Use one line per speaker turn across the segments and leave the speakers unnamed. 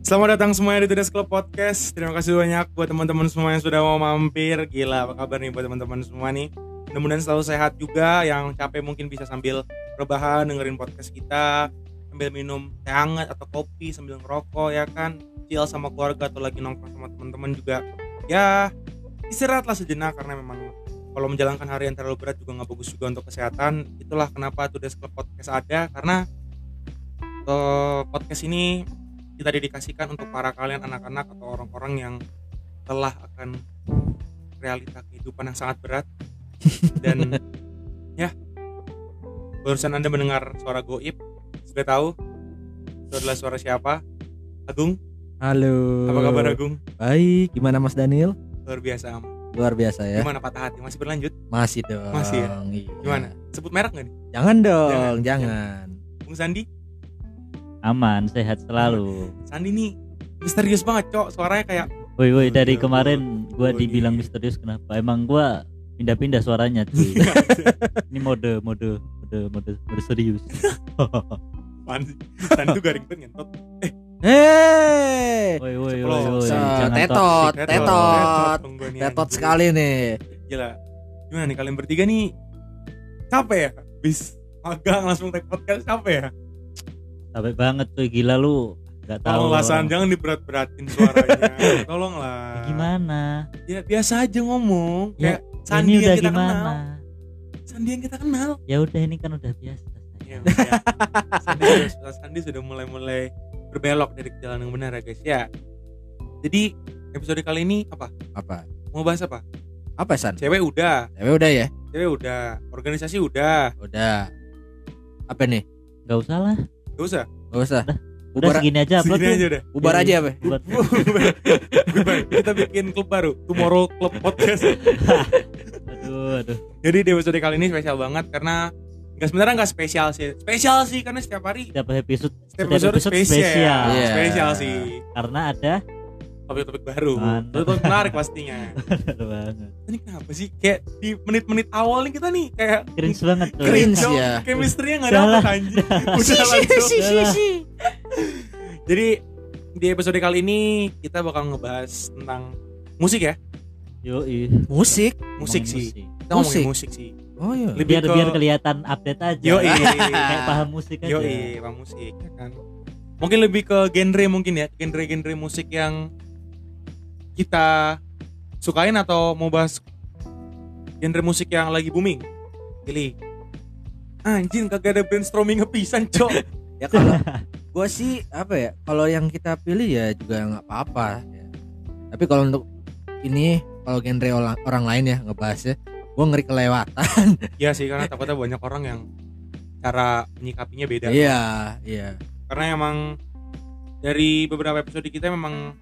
Selamat datang semuanya di Tudas Club Podcast. Terima kasih banyak buat teman-teman semua yang sudah mau mampir. Gila, apa kabar nih buat teman-teman semua nih? Mudah-mudahan selalu sehat juga. Yang capek mungkin bisa sambil rebahan dengerin podcast kita, sambil minum teh hangat atau kopi, sambil ngerokok ya kan. Chill sama keluarga atau lagi nongkrong sama teman-teman juga. Ya, istirahatlah sejenak karena memang kalau menjalankan harian terlalu berat juga nggak bagus juga untuk kesehatan itulah kenapa Tudes Club Podcast ada karena eh, podcast ini kita dedikasikan untuk para kalian anak-anak atau orang-orang yang telah akan realita kehidupan yang sangat berat dan ya barusan anda mendengar suara goib sudah tahu itu adalah suara siapa Agung
Halo.
apa kabar Agung
Baik, gimana Mas Daniel?
luar biasa Am.
Luar biasa ya.
gimana patah hati masih berlanjut
Masih dong.
Masih ya?
Iya.
gimana sebut merek nggak nih
Jangan dong,
Jangan,
jangan.
Bung Sandi
aman sehat selalu
Sandi nih misterius banget cok suaranya kayak
woi woi
Betul,
dari
betul.
kemarin gua
ya Woi. iya.
dibilang misterius kenapa emang gua pindah-pindah suaranya cuy
Iya,
ini mode mode mode mode, mode serius
apaan sih Sandi tuh garing banget ngentot
Hei.
woi woi woi
Sepuluh.
woi
Se-
jangan
tetot.
toxic.
Tetot.
dong gua nih,
Tetot
anjing.
sekali nih.
gila gimana nih kalian bertiga nih capek ya bis magang langsung take podcast capek ya
capek banget cuy gila lu nggak tahu
tolong lah San jangan diberat-beratin suaranya
Ya,
tolonglah
gimana
ya, biasa aja ngomong
Ya,
kayak Sandi
ini udah
yang kita
gimana
kenal Sandi yang kita kenal
ya udah ini kan udah biasa
ya, ya. Sandi, sudah, Sandi sudah mulai-mulai berbelok dari jalan yang benar ya guys ya jadi episode kali ini apa
Apa?
mau bahas apa
Apa San?
cewek udah
Tapi udah ya.
cewek udah organisasi udah
Udah. Apa nih?
nggak usah lah
gak usah
Gak usah.
udah
Ubar,
segini aja upload
segini
tuh.
aja udah
ubar
Iya,
aja apa?
Buat-
Goodbye. kita bikin klub baru Tomorrow Club Podcast
aduh aduh
jadi di episode kali ini spesial banget karena nggak sebenarnya nggak spesial sih spesial sih karena setiap hari
setiap episode
setiap episode, spesial spesial,
Iya.
sih
karena ada
topik-topik baru
Mantap.
topik menarik pastinya
Bener banget.
ini kenapa sih kayak di menit-menit awal nih kita nih kayak
cringe banget tuh
Cringe.
dong.
ya.
chemistry-nya nggak
Udah
dapet
lah.
anjing udah langsung jadi di episode kali ini kita bakal ngebahas tentang musik ya
Yoi.
Musik.
musik
Ngomongin
sih kita
Musik.
ngomongin musik sih
Oh iya.
Lebih
biar
ke-
biar kelihatan update aja
Yoi.
kayak paham musik aja
Yoi, bang musik ya kan. Mungkin lebih ke genre mungkin ya, genre-genre musik yang kita sukain atau mau bahas genre musik yang lagi booming. Pilih. Anjing kagak ada brainstorming pisan, Cok.
Ya kalau gua sih apa ya? Kalau yang kita pilih ya juga nggak apa-apa. ya. Tapi kalau untuk ini kalau genre orang, orang lain ya ngebahasnya, gua ngeri kelewatan.
Iya sih, karena takutnya banyak orang yang cara menyikapinya beda.
Iya, iya.
Karena emang dari beberapa episode kita memang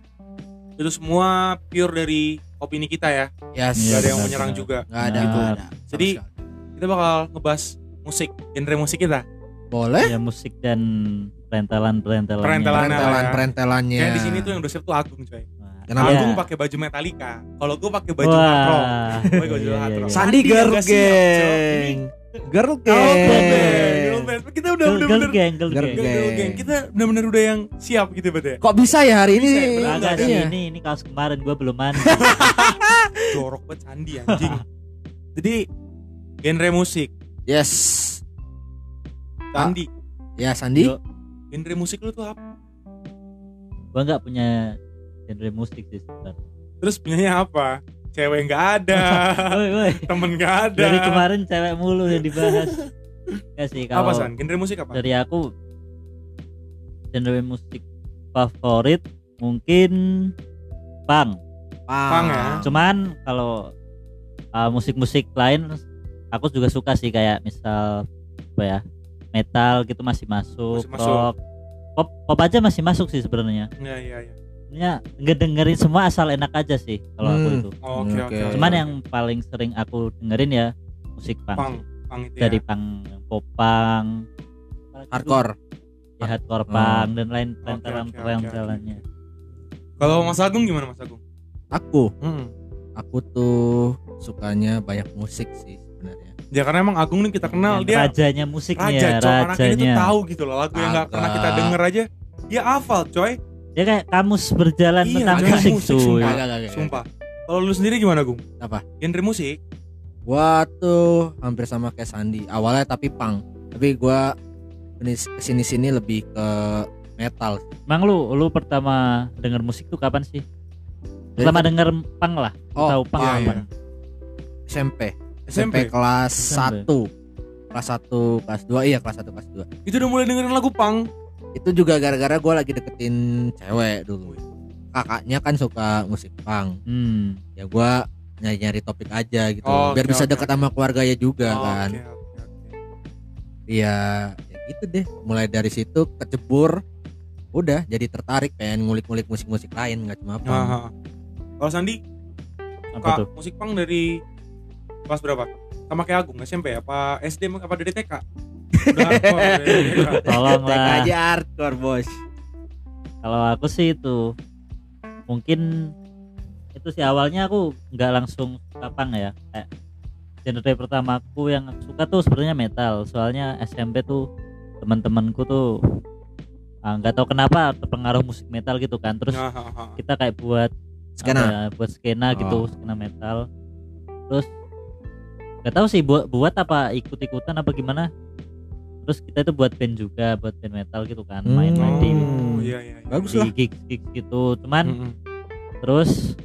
itu semua pure dari opini kita ya.
Ya,
Gak ada
Iya,
yang
benar,
menyerang
benar.
juga.
Gak ada,
Nah,
nggak ada. Sama
jadi-
sekali.
Kita bakal ngebahas musik, genre musik kita.
boleh
Eh?
ya musik dan perentelan perentelan
Perentelan.
perentelan
ya.
perentelannya.
Kayak di sini tuh yang udah siap tuh Agung coy.
Kenapa?
Agung
Iya.
pakai baju Metallica. Kalau gue pakai baju hard rock. Gue
Iya,
baju hard rock.
Sandi
Sandi
Sandi
girl
agak siap,
gang. Girl
Girl band, girl
gang.
band. Kita udah
girl
udah
girl
bener
gang girl
Girl
gang
gang.
girl gang. Kita benar-benar udah yang siap gitu berarti. ya.
Kok bisa ya hari ini?
Bisa ya, benar
Agak
Iya.
sih ini ini kaos kemarin gua belum mandi
Jorok banget Sandi anjing. Jadi genre musik
Yes.
Sandi.
Ya Sandi.
Yo,
Genre musik lu tuh apa?
gua nggak punya genre musik sih sebenarnya
Terus punyanya apa? Cewek nggak ada,
woi woi
temen nggak ada.
dari kemarin cewek mulu yang dibahas Nggak sih
Ya. apa
kalau
san? Genre musik apa?
dari aku genre musik favorit mungkin punk
Pang ya.
cuman kalau uh, musik-musik lain aku juga suka sih kayak misal apa ya metal gitu masih masuk,
Masih masuk.
rock pop pop aja masih masuk sih sebenarnya
Iya iya iya.
sebenarnya ngedengerin semua asal enak aja sih kalau aku
Hmm.
itu
Oke
Oke.
oke.
cuman yang paling sering aku dengerin ya musik punk,
pang
sih.
pang itu
dari
ya.
punk popang apalagi tuh?
Hardcore.
ya hardcore punk dan lain lain
Ah. Oke,
dalam
oke,
yang
oke, oke.
jalannya
Kalau Mas Agung gimana Mas Agung?
Aku,
Hmm.
aku tuh sukanya banyak musik sih sebenarnya.
Ya karena emang Agung nih kita kenal
Yang
dia
rajanya musik nih
raja coy
ya
anak ini tuh
rajanya
tahu gitu loh lagu yang nggak pernah kita
Agak.
denger aja dia hafal coy
Dia kayak kamus berjalan
Iya,
tentang
kamus
musik
musik,
cuy.
sumpah.
Kagak, kagak, kagak.
Sumpah. Kalau lu sendiri gimana, Gung?
Apa?
Genre musik?
Gua tuh hampir sama kayak Sandi. Awalnya tapi punk. Tapi gua kesini sini lebih ke metal.
Emang lu lu pertama denger musik tuh kapan sih?
Jadi-
Pertama denger pang lah.
oh,
tahu pang
punk.
iya,
kapan?
SMP.
SMP?
kelas 1.
SMP.
Kelas 1, kelas 2. Iya, kelas 1, kelas 2.
Itu udah mulai dengerin lagu punk.
Itu juga gara-gara gua lagi deketin cewek dulu. Kakaknya kan suka musik punk.
Hmm.
Ya gua nyari-nyari topik aja gitu.
Oh,
biar
oke,
bisa
oke,
deket sama keluarganya juga
Oh,
kan.
oke, oke, oke.
Iya, ya gitu deh. Mulai dari situ kecebur, udah jadi tertarik pengen ngulik-ngulik musik-musik lain nggak cuma punk.
Aha. Nah, Kalau Sandi,
Apa
kak
tuh?
musik punk dari kelas berapa? Sama kayak Agung SMP apa SD apa dari TK? Udah hardcore dari TK.
Tolong
Tek
lah.
aja hardcore bos.
Kalau aku sih itu mungkin itu sih awalnya aku nggak langsung suka punk ya. Kayak genre pertamaku yang aku suka tuh sebenarnya metal. Soalnya SMP tuh teman-temanku tuh ah, nggak tahu kenapa terpengaruh musik metal gitu kan. Terus
Aha, aha.
kita kayak buat
Skena. Oh.
apa ya, buat skena gitu skena metal terus nggak tahu sih buat buat apa ikut ikutan apa gimana terus kita itu buat band juga buat band metal gitu kan
Hmm.
main-main di,
Oh, iya iya. iya.
Bagus
di
lah.
gigs gigs gitu cuman
Mm-mm.
terus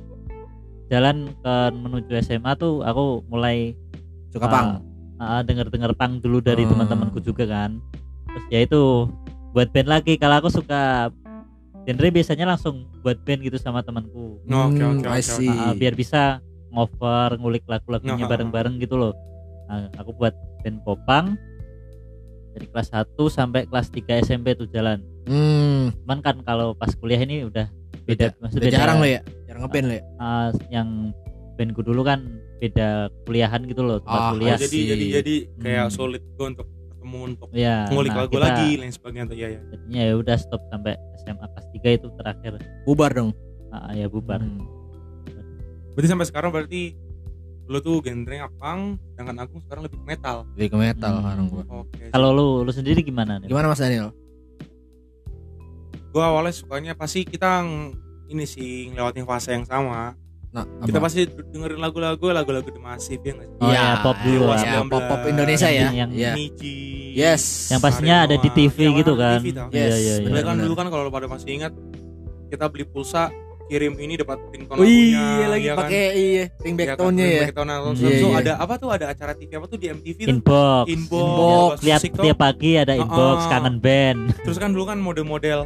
jalan ke menuju SMA tuh aku mulai eh,
Suka punk.
Ah. denger denger pang dulu dari
Hmm.
teman-temanku juga kan terus ya itu buat band lagi kalau aku suka genre biasanya langsung buat band gitu sama temanku
No, oke,
Hmm,
oke,
I
oke,
see.
Ah, biar bisa ngover ngulik lagu-lagunya
Nah,
bareng-bareng gitu loh Nah, aku buat band popang dari kelas 1 sampai kelas 3 SMP tuh jalan
Hmm,
cuman kan kalau pas kuliah ini udah beda
udah
maksudnya beda,
jarang lo ya, jarang ngeband lo ya.
ah, yang bandku dulu kan beda kuliahan gitu loh tempat
Ah,
kuliah
Oh, jadi
sih.
jadi jadi kayak
Hmm.
solid gue untuk ketemu untuk
ya
ngulik
nah,
lagu
kita-
lagi lain sebagainya tuh ya ya.
jadinya ya udah stop sampai SMA kelas 3 itu terakhir
Bubar dong.
Ah, ya bubar
Hmm.
Berarti sampai sekarang berarti lu tuh genrenya punk sedangkan aku sekarang lebih metal.
Lebih ke metal
Hmm.
orang gua.
Oke.
kalau lu lu sendiri gimana nih
Gimana Mas Daniel?
Gua awalnya sukanya pasti kita ng- ini sih ngelewatin fase yang sama.
Nah,
Kita
apa?
pasti dengerin lagu-lagu lagu-lagu The Massive ya nggak sih?
Oh ya, pop dulu lah.
ya, pop pop Indonesia ya.
Yang-
Iya.
Niji.
Yes.
yang pastinya ada di
Aridoa.
TV
Yang
gitu
Iya, ada di
kan
TV tau.
Yes,
Iya, iya, iya.
Padahal kan
Benar.
dulu kan kalau lu pada masih ingat kita beli pulsa kirim ini dapatin konon
Wih,
lagunya,
lagi
ya kan?
pakai iya ring
Iya kan,
backtonenya
beli
ya.
background album.
Hmm.
Terus
Iya,
tuh
iya.
ada apa tuh ada acara TV apa tuh di MTV tuh? Inbox.
inbox
Ah,
Inbox.
Bebas
Lihat
musik tuh.
tiap pagi ada inbox
Heeh.
kangen band.
Terus kan dulu kan model-model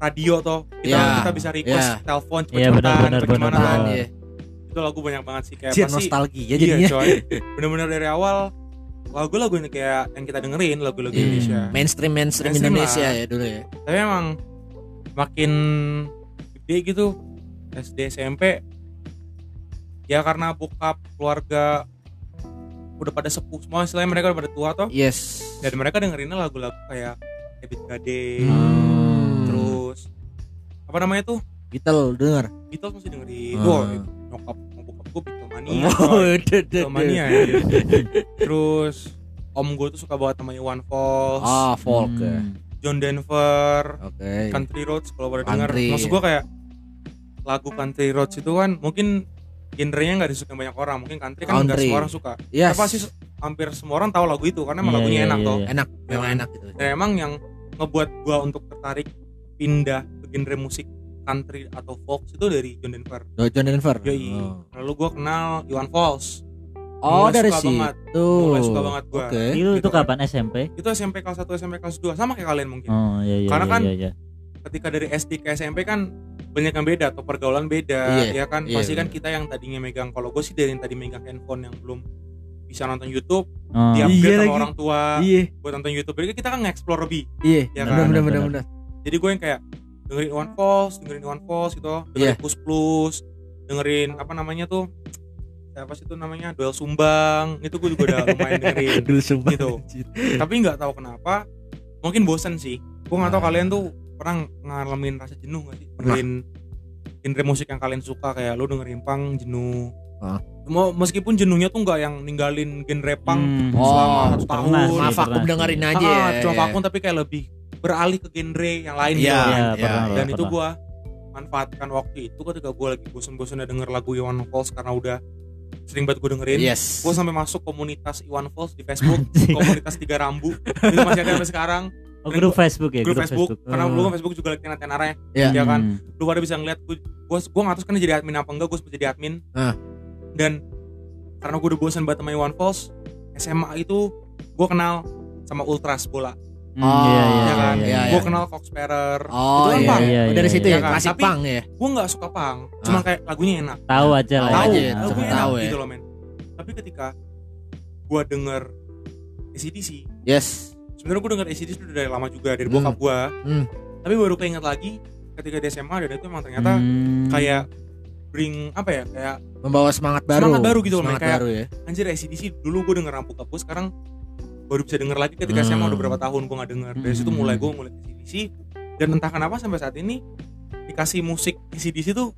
radio toh. Kita
Iya.
kita bisa request
Iya.
telepon
Iya, benar,
cepet-cepetan
benar,
apa gimana
benar,
kan.
benar.
Iya.
Itu lagu banyak banget sih kayak
Cia,
pasti
nostalgia
Iya,
jadinya.
coy. Bener-bener dari awal lagu-lagu ini kayak yang kita dengerin lagu-lagu
Iya.
Indonesia.
Mainstream mainstream
Mainstream
Indonesia
lah.
ya dulu ya.
Tapi emang makin gede gitu SD SMP ya karena bokap keluarga udah pada sepuh semua selain mereka udah pada tua toh
Yes.
dan mereka dengerinnya lagu-lagu kayak Ebit Gade
Hmm.
terus apa namanya tuh
Beatle denger.
Beatles masih dengerin
Ah.
Wah, nyokap mau bokap gue Beatlemania coy.
Oh, duh, duh,
Beatlemania
duh.
ya. terus om gue tuh suka banget namanya One Falls
Ah, folk. ya.
Hmm.
John Denver
Oke.
Country Roads kalau pada denger
Country, iya.
maksud gue kayak lagu Country Roads itu kan mungkin genrenya nggak disukai banyak orang mungkin country kan nggak
Country.
semua orang suka
Yes.
Tapi pasti hampir semua orang tahu lagu itu karena emang
Iya,
lagunya
iya,
enak
iya,
toh
iya.
enak, memang enak gitu.
dan emang yang ngebuat gua untuk tertarik pindah ke genre musik country atau folk itu dari John Denver.
Do John Denver.
Yoi.
Oh.
Lalu gua kenal Iwan Fals.
Oh,
Mulai
dari
suka
situ.
banget. Mulai suka banget gua.
Oke.
Itu, itu
gitu kan.
kapan SMP?
Itu SMP kelas 1, SMP kelas 2 sama kayak kalian mungkin.
Oh iya iya.
Karena
iya,
kan-
iya, iya.
Ketika dari SD ke SMP kan banyak yang beda atau pergaulan beda ya
Iya,
kan
iya,
pasti kan
bener.
kita yang tadinya megang kalau gue sih dari yang tadi megang handphone yang belum bisa nonton YouTube
Oh,
di
Iya
upgrade sama
lagi.
orang tua
Iya,
buat nonton YouTube jadi kita kan nge-explore lebih
iya.
ya
Benar
kan
benar benar
Benar, benar.
benar.
jadi gue yang kayak dengerin One Falls dengerin One Falls
Iya.
gitu dengerin Plus Plus dengerin apa namanya tuh apa sih itu namanya duel sumbang itu gue juga udah lumayan dengerin
Dulu sumpah.
Gitu. tapi nggak tahu kenapa mungkin bosen sih gue nggak tahu
Nah.
kalian tuh pernah ngalamin rasa jenuh gak sih dengerin genre musik yang kalian suka kayak lu dengerin punk jenuh
Hah?
Mau meskipun jenuhnya tuh nggak yang ninggalin genre punk
Hmm.
Oh,
selama satu
pernah
tahun
sih.
Maaf aku
Pernah sih.
dengerin
Ah,
aja ya.
cuma
iya.
vakum tapi kayak lebih beralih ke genre yang lain
Iya,
gitu
Iya,
iya,
pernah,
dan
pernah,
itu
pernah.
gua manfaatkan waktu itu ketika gue lagi bosen-bosennya denger lagu Iwan Fals karena udah sering banget gue dengerin
yes
gue sampai masuk komunitas Iwan Fals di Facebook komunitas tiga rambu itu masih ada sampai sekarang
oh, grup Facebook ya
grup Facebook, karena
Hmm.
dulu kan Facebook juga lagi tenar arahnya
Iya.
ya kan
Hmm.
lu pada bisa ngeliat gue gue gue nggak tahu kan jadi admin apa enggak gue sempat jadi admin
Ah.
dan karena gue udah bosan banget sama Iwan Fals SMA itu gue kenal sama Ultras bola
Hmm, iya, iya,
ya kan
iya,
iya,
gue
iya.
kenal Cox Sparrow Itu
oh
kan
iya,
punk.
iya,
Iya,
dari
iya,
situ
iya
ya
kan?
klasik
Tapi-
punk ya
gue nggak suka pang cuma
Ah.
kayak lagunya enak
Tahu aja lah.
Iya, tahu
aja,
ya.
tetep
lagunya
tahu
enak
ya.
gitu loh men tapi ketika gue denger ACDC
yes
sebenarnya gue denger ACDC udah dari lama juga dari
Hmm.
bokap gue
Hmm.
tapi baru keinget lagi ketika di SMA dan itu emang ternyata
Hmm.
kayak bring apa ya kayak
membawa semangat baru
Semangat baru gitu loh,
semangat
kayak-
baru ya
anjir ACDC dulu gue denger rampu kapus sekarang baru bisa denger lagi ketika SMA
Hmm.
udah berapa tahun gue nggak denger dari situ
Hmm.
mulai gue mulai ACDC dan entah kenapa sampai saat ini dikasih musik ACDC tuh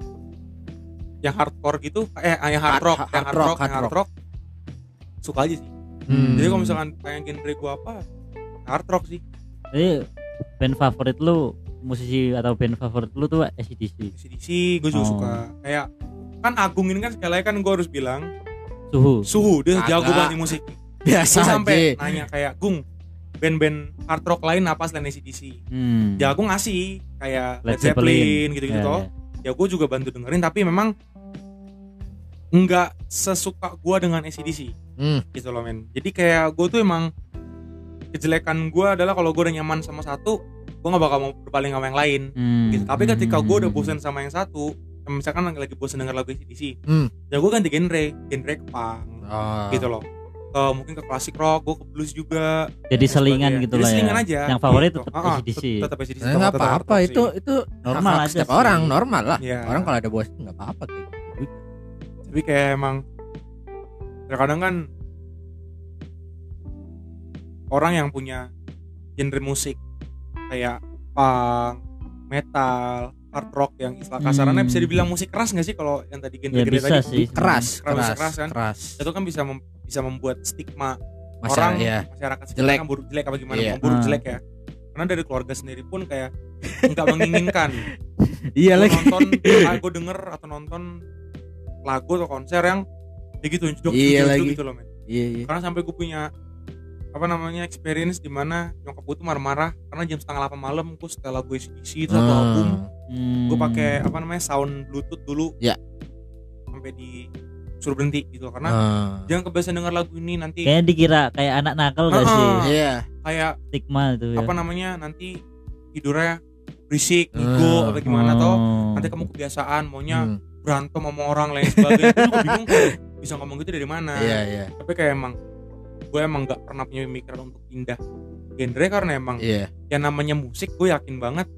yang hardcore gitu eh yang hard
Hard-
rock
hard-
yang
hard
hard
rock,
rock yang
hard
hard rock suka aja sih
Hmm.
jadi kalau misalkan kayak genre gue apa hard rock sih
Jadi band favorit lu musisi atau band favorit lu tuh ACDC
ACDC gue juga
Oh.
suka kayak kan Agung ini kan sekali lagi kan gue harus bilang
Suhu.
suhu dia
Kagak.
jago banget di musik gue
biasa aja
Eh, sampai nanya kayak Gung band-band hard rock lain apa selain ACDC
Hmm.
ya aku ngasih kayak Led
Led
Zeppelin
Zeppelin.
gitu-gitu
Iya,
toh
iya.
ya gue juga bantu dengerin tapi memang nggak sesuka gue dengan ACDC
Hmm.
gitu loh men jadi kayak gue tuh emang kejelekan gue adalah kalau gue udah nyaman sama satu gue nggak bakal mau berpaling sama yang lain
Hmm.
gitu. tapi ketika gue udah
Hmm.
bosan sama yang satu misalkan lagi bosan denger lagu ACDC
Hmm.
ya gue ganti genre genre ke punk
Oh.
gitu loh ke, mungkin ke klasik rock gue ke blues juga
jadi selingan gitu
Jadi
lah ya.
selingan aja
Yang favorit
gitu.
tetap
Ah, ah,
ACDC.
tet- tetap ACDC
Nah, nggak
tetap- tetap
apa-apa
sih.
itu itu
Normal
hak
aja
setiap
sih.
orang normal lah
Iya.
orang kalau ada bosan nggak apa-apa kayak gitu
tapi kayak emang terkadang kan orang yang punya genre musik kayak punk, metal, hard rock yang istilah kasarannya
Hmm.
bisa dibilang musik keras nggak sih kalau yang tadi
Ya
genre-genre
bisa
tadi
sih.
keras
Keras,
keras
keras kan?
keras
itu kan bisa mem- bisa membuat stigma
Masa,
orang
ya
masyarakat sekitar
Jelek.
kan buruk jelek apa gimana
Iya.
bukan buruk
Ah.
jelek ya karena dari keluarga sendiri pun kayak nggak menginginkan
iya
Gua
lagi
nonton ah, gua denger atau nonton lagu atau konser yang kayak gitu jeduk,
Iya
jeduk, jeduk
lagi.
gitu loh men
iya iya
karena sampai gue punya apa namanya experience di mana nyokap gue tuh marah-marah karena jam setengah 8 malam gue setelah gue isi satu
Hmm.
album
Hmm.
gue pakai apa namanya sound bluetooth dulu
Ya.
sampai di suruh berhenti gitu loh.
Hmm.
karena jangan kebiasaan denger lagu ini nanti
Kayaknya dikira kayak anak nakal gak sih?
Ah.
iya
kayak
Stigma itu ya.
apa namanya nanti tidurnya berisik
Eh,
ngigo
Hmm.
apa gimana
Oh.
toh nanti kamu kebiasaan
Hmm.
maunya berantem sama orang lain sebagainya gue juga bingung kok bisa ngomong gitu dari mana
Hmm. iya iya
tapi kayak emang gue emang nggak pernah punya pemikiran untuk pindah genre karena emang
iya
yang namanya musik gue yakin banget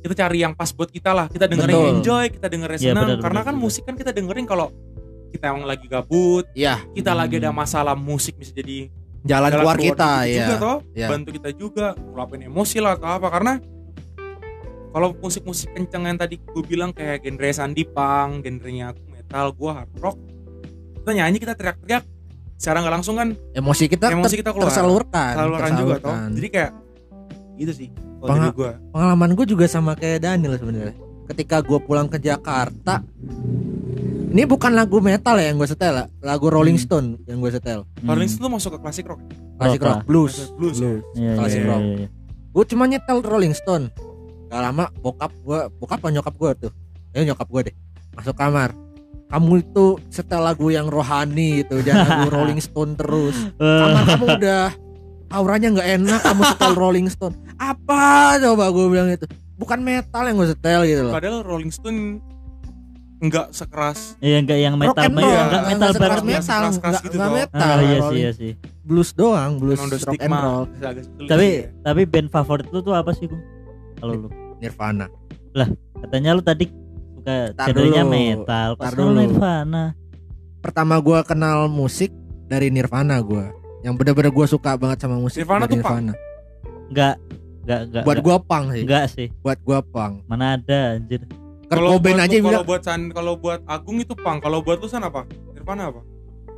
kita cari yang pas buat kita lah kita dengerin
Betul.
enjoy kita dengerin
Iya,
senang
benar,
karena
benar,
kan
benar.
musik kan kita dengerin kalau kita emang lagi gabut
Iya.
kita lagi ada
Hmm.
masalah musik bisa jadi
jalan
jalan
keluar kita
gitu
ya
juga toh
Iya.
bantu kita juga ngeluapin emosi lah atau apa karena kalau musik-musik kenceng yang tadi gue bilang kayak genre Sandi Pang, genrenya aku metal, gue hard rock kita nyanyi kita teriak-teriak secara nggak langsung kan
emosi kita
emosi
ter-
kita keluar
tersalurkan
saluran juga toh
tersalurkan.
jadi kayak gitu sih kalau
Penga-
dari gue
pengalaman gue juga sama kayak Daniel sebenarnya ketika gue pulang ke Jakarta ini bukan lagu metal ya yang gue setel la- lagu Rolling
Hmm.
Stone yang gue setel
Rolling Stone tuh masuk ke klasik rock
klasik rock
Rock
blues
Klasik blues, ya?
Iya,
Klasik
Klasik
rock.
rock.
gue cuma nyetel Rolling Stone gak lama bokap gue bokap apa nyokap gue tuh ya nyokap gue deh masuk kamar kamu itu setel lagu yang rohani gitu jangan lagu Rolling Stone terus
Eh,
kamar kamu udah auranya nggak enak kamu setel Rolling Stone apa coba gue bilang itu bukan metal yang gue setel gitu loh
padahal Rolling Stone nggak sekeras
Iya enggak yang
Rock
metal
and roll,
banget, enggak
nggak
metal
sekeras
ya.
banget.
metal,
Keras-keras
nggak-
gitu
nggak
loh.
metal,
Ah, iya sih,
Rolling-
iya sih.
blues doang, blues
emang udah
rock and roll,
agak-agak sulit
Tapi
Iya.
ya.
tapi band favorit lu tuh apa sih, Gung? Kalau lu
Nirvana.
katanya lu tadi suka
Tar
genrenya
dulu.
metal,
Tar
pas lu
dulu.
Nirvana.
Pertama gua kenal musik dari Nirvana gua. Yang bener-bener gua suka banget sama musik
Nirvana
dari
tuh punk?
Nirvana.
Enggak, enggak, enggak.
Buat gua pang sih,
enggak sih.
buat gua pang.
Mana ada anjir.
Kurt
Kalau
Cobain
buat-
aja
kalau
bilang
buat San kalau buat Agung itu pang kalau buat lu San apa Nirvana apa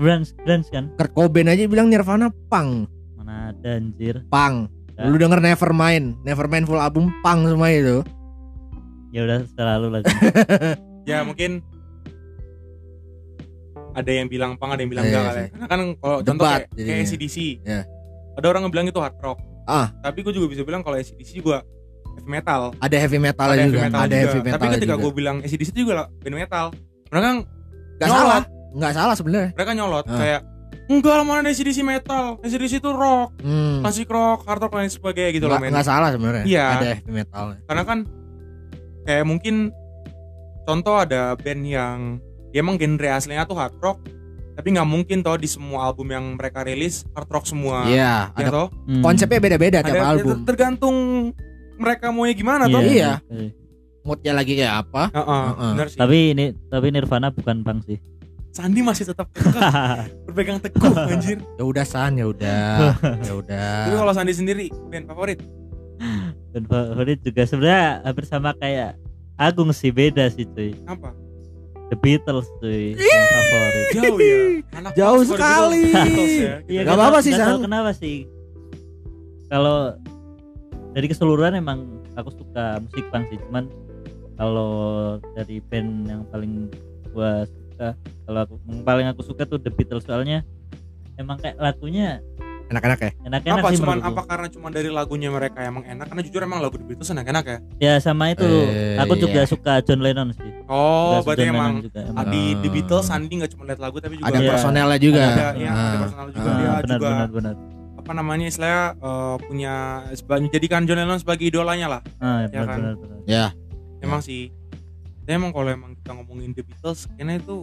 Grunge, grunge kan?
Kurt Cobain aja bilang Nirvana pang,
Mana ada anjir.
pang.
Ya.
Lu denger Nevermind, Nevermind full album pang semua itu.
ya udah selalu lagu
ya
Hmm.
mungkin ada yang bilang pang ada yang bilang
Iya,
enggak
iya
kali ya.
sih.
karena kan kalau contoh
Debat
kayak,
jadinya.
kayak ACDC
Iya.
ada orang ngebilang itu hard rock
Ah.
tapi gue juga bisa bilang kalau ACDC juga heavy metal
ada heavy metal
ada heavy
juga, kan,
metal
ada
juga.
heavy metal
tapi ketika
juga.
gue bilang ACDC itu juga lah band metal mereka
Nggak salah, nggak salah sebenarnya.
mereka nyolot
Ah.
kayak enggak lah mana ada ACDC metal ACDC itu rock
Hmm.
klasik rock hard rock dan lain sebagainya gitu loh
nggak
men
nggak salah sebenarnya.
Iya.
Ada heavy metal.
karena kan kayak mungkin contoh ada band yang ya emang genre aslinya tuh hard rock tapi nggak mungkin toh di semua album yang mereka rilis hard rock semua
Iya,
ya
ada
toh
Hmm.
konsepnya beda-beda tiap
Ada- ya
album.
ter- tergantung mereka maunya gimana toh
Iya.
oke.
Moodnya lagi kayak apa?
Heeh,
Heeh.
bener sih.
tapi ini tapi Nirvana bukan pang sih
Sandi masih tetap kekeh, berpegang teguh anjir
Ya udah San, ya udah. ya udah.
Tapi kalau Sandi sendiri band favorit
dan favorit juga sebenarnya hampir sama kayak Agung sih beda sih cuy
apa
The Beatles cuy yang favorit
jauh ya Anak
Jauh
Oxford gitu,
sekali.
Beatles ya.
Iya,
Gak
nggak
apa-apa
tahu-
sih,
nggak tahu
San.
Kenapa sih? Kalau dari keseluruhan emang aku suka musik punk sih, cuman kalau dari band yang paling gua suka, kalau aku yang paling aku suka tuh The Beatles soalnya emang kayak lagunya
Enak-enak ya?
enak-enak
apa
sih
cuman apa
menurutku.
karena cuman dari lagunya mereka emang enak karena jujur emang lagu The Beatles enak-enak ya
Ya sama itu.
Eh,
aku
iya.
juga suka John Lennon sih.
oh
Suka
berarti
John Lennon
emang
juga.
Ah,
emang.
di The
Hmm.
Beatles Sandi nggak cuma lihat lagu tapi juga
Ada
Iya.
personelnya juga.
ada, ya, ada
Ah.
personal juga
Ah,
dia
benar,
juga
benar benar
apa namanya istilahnya eh, punya sebagai jadikan John Lennon sebagai idolanya lah
Ah, benar,
kan?
benar, benar.
Ya,
emang sih tapi emang kalau emang kita ngomongin The Beatles kayaknya itu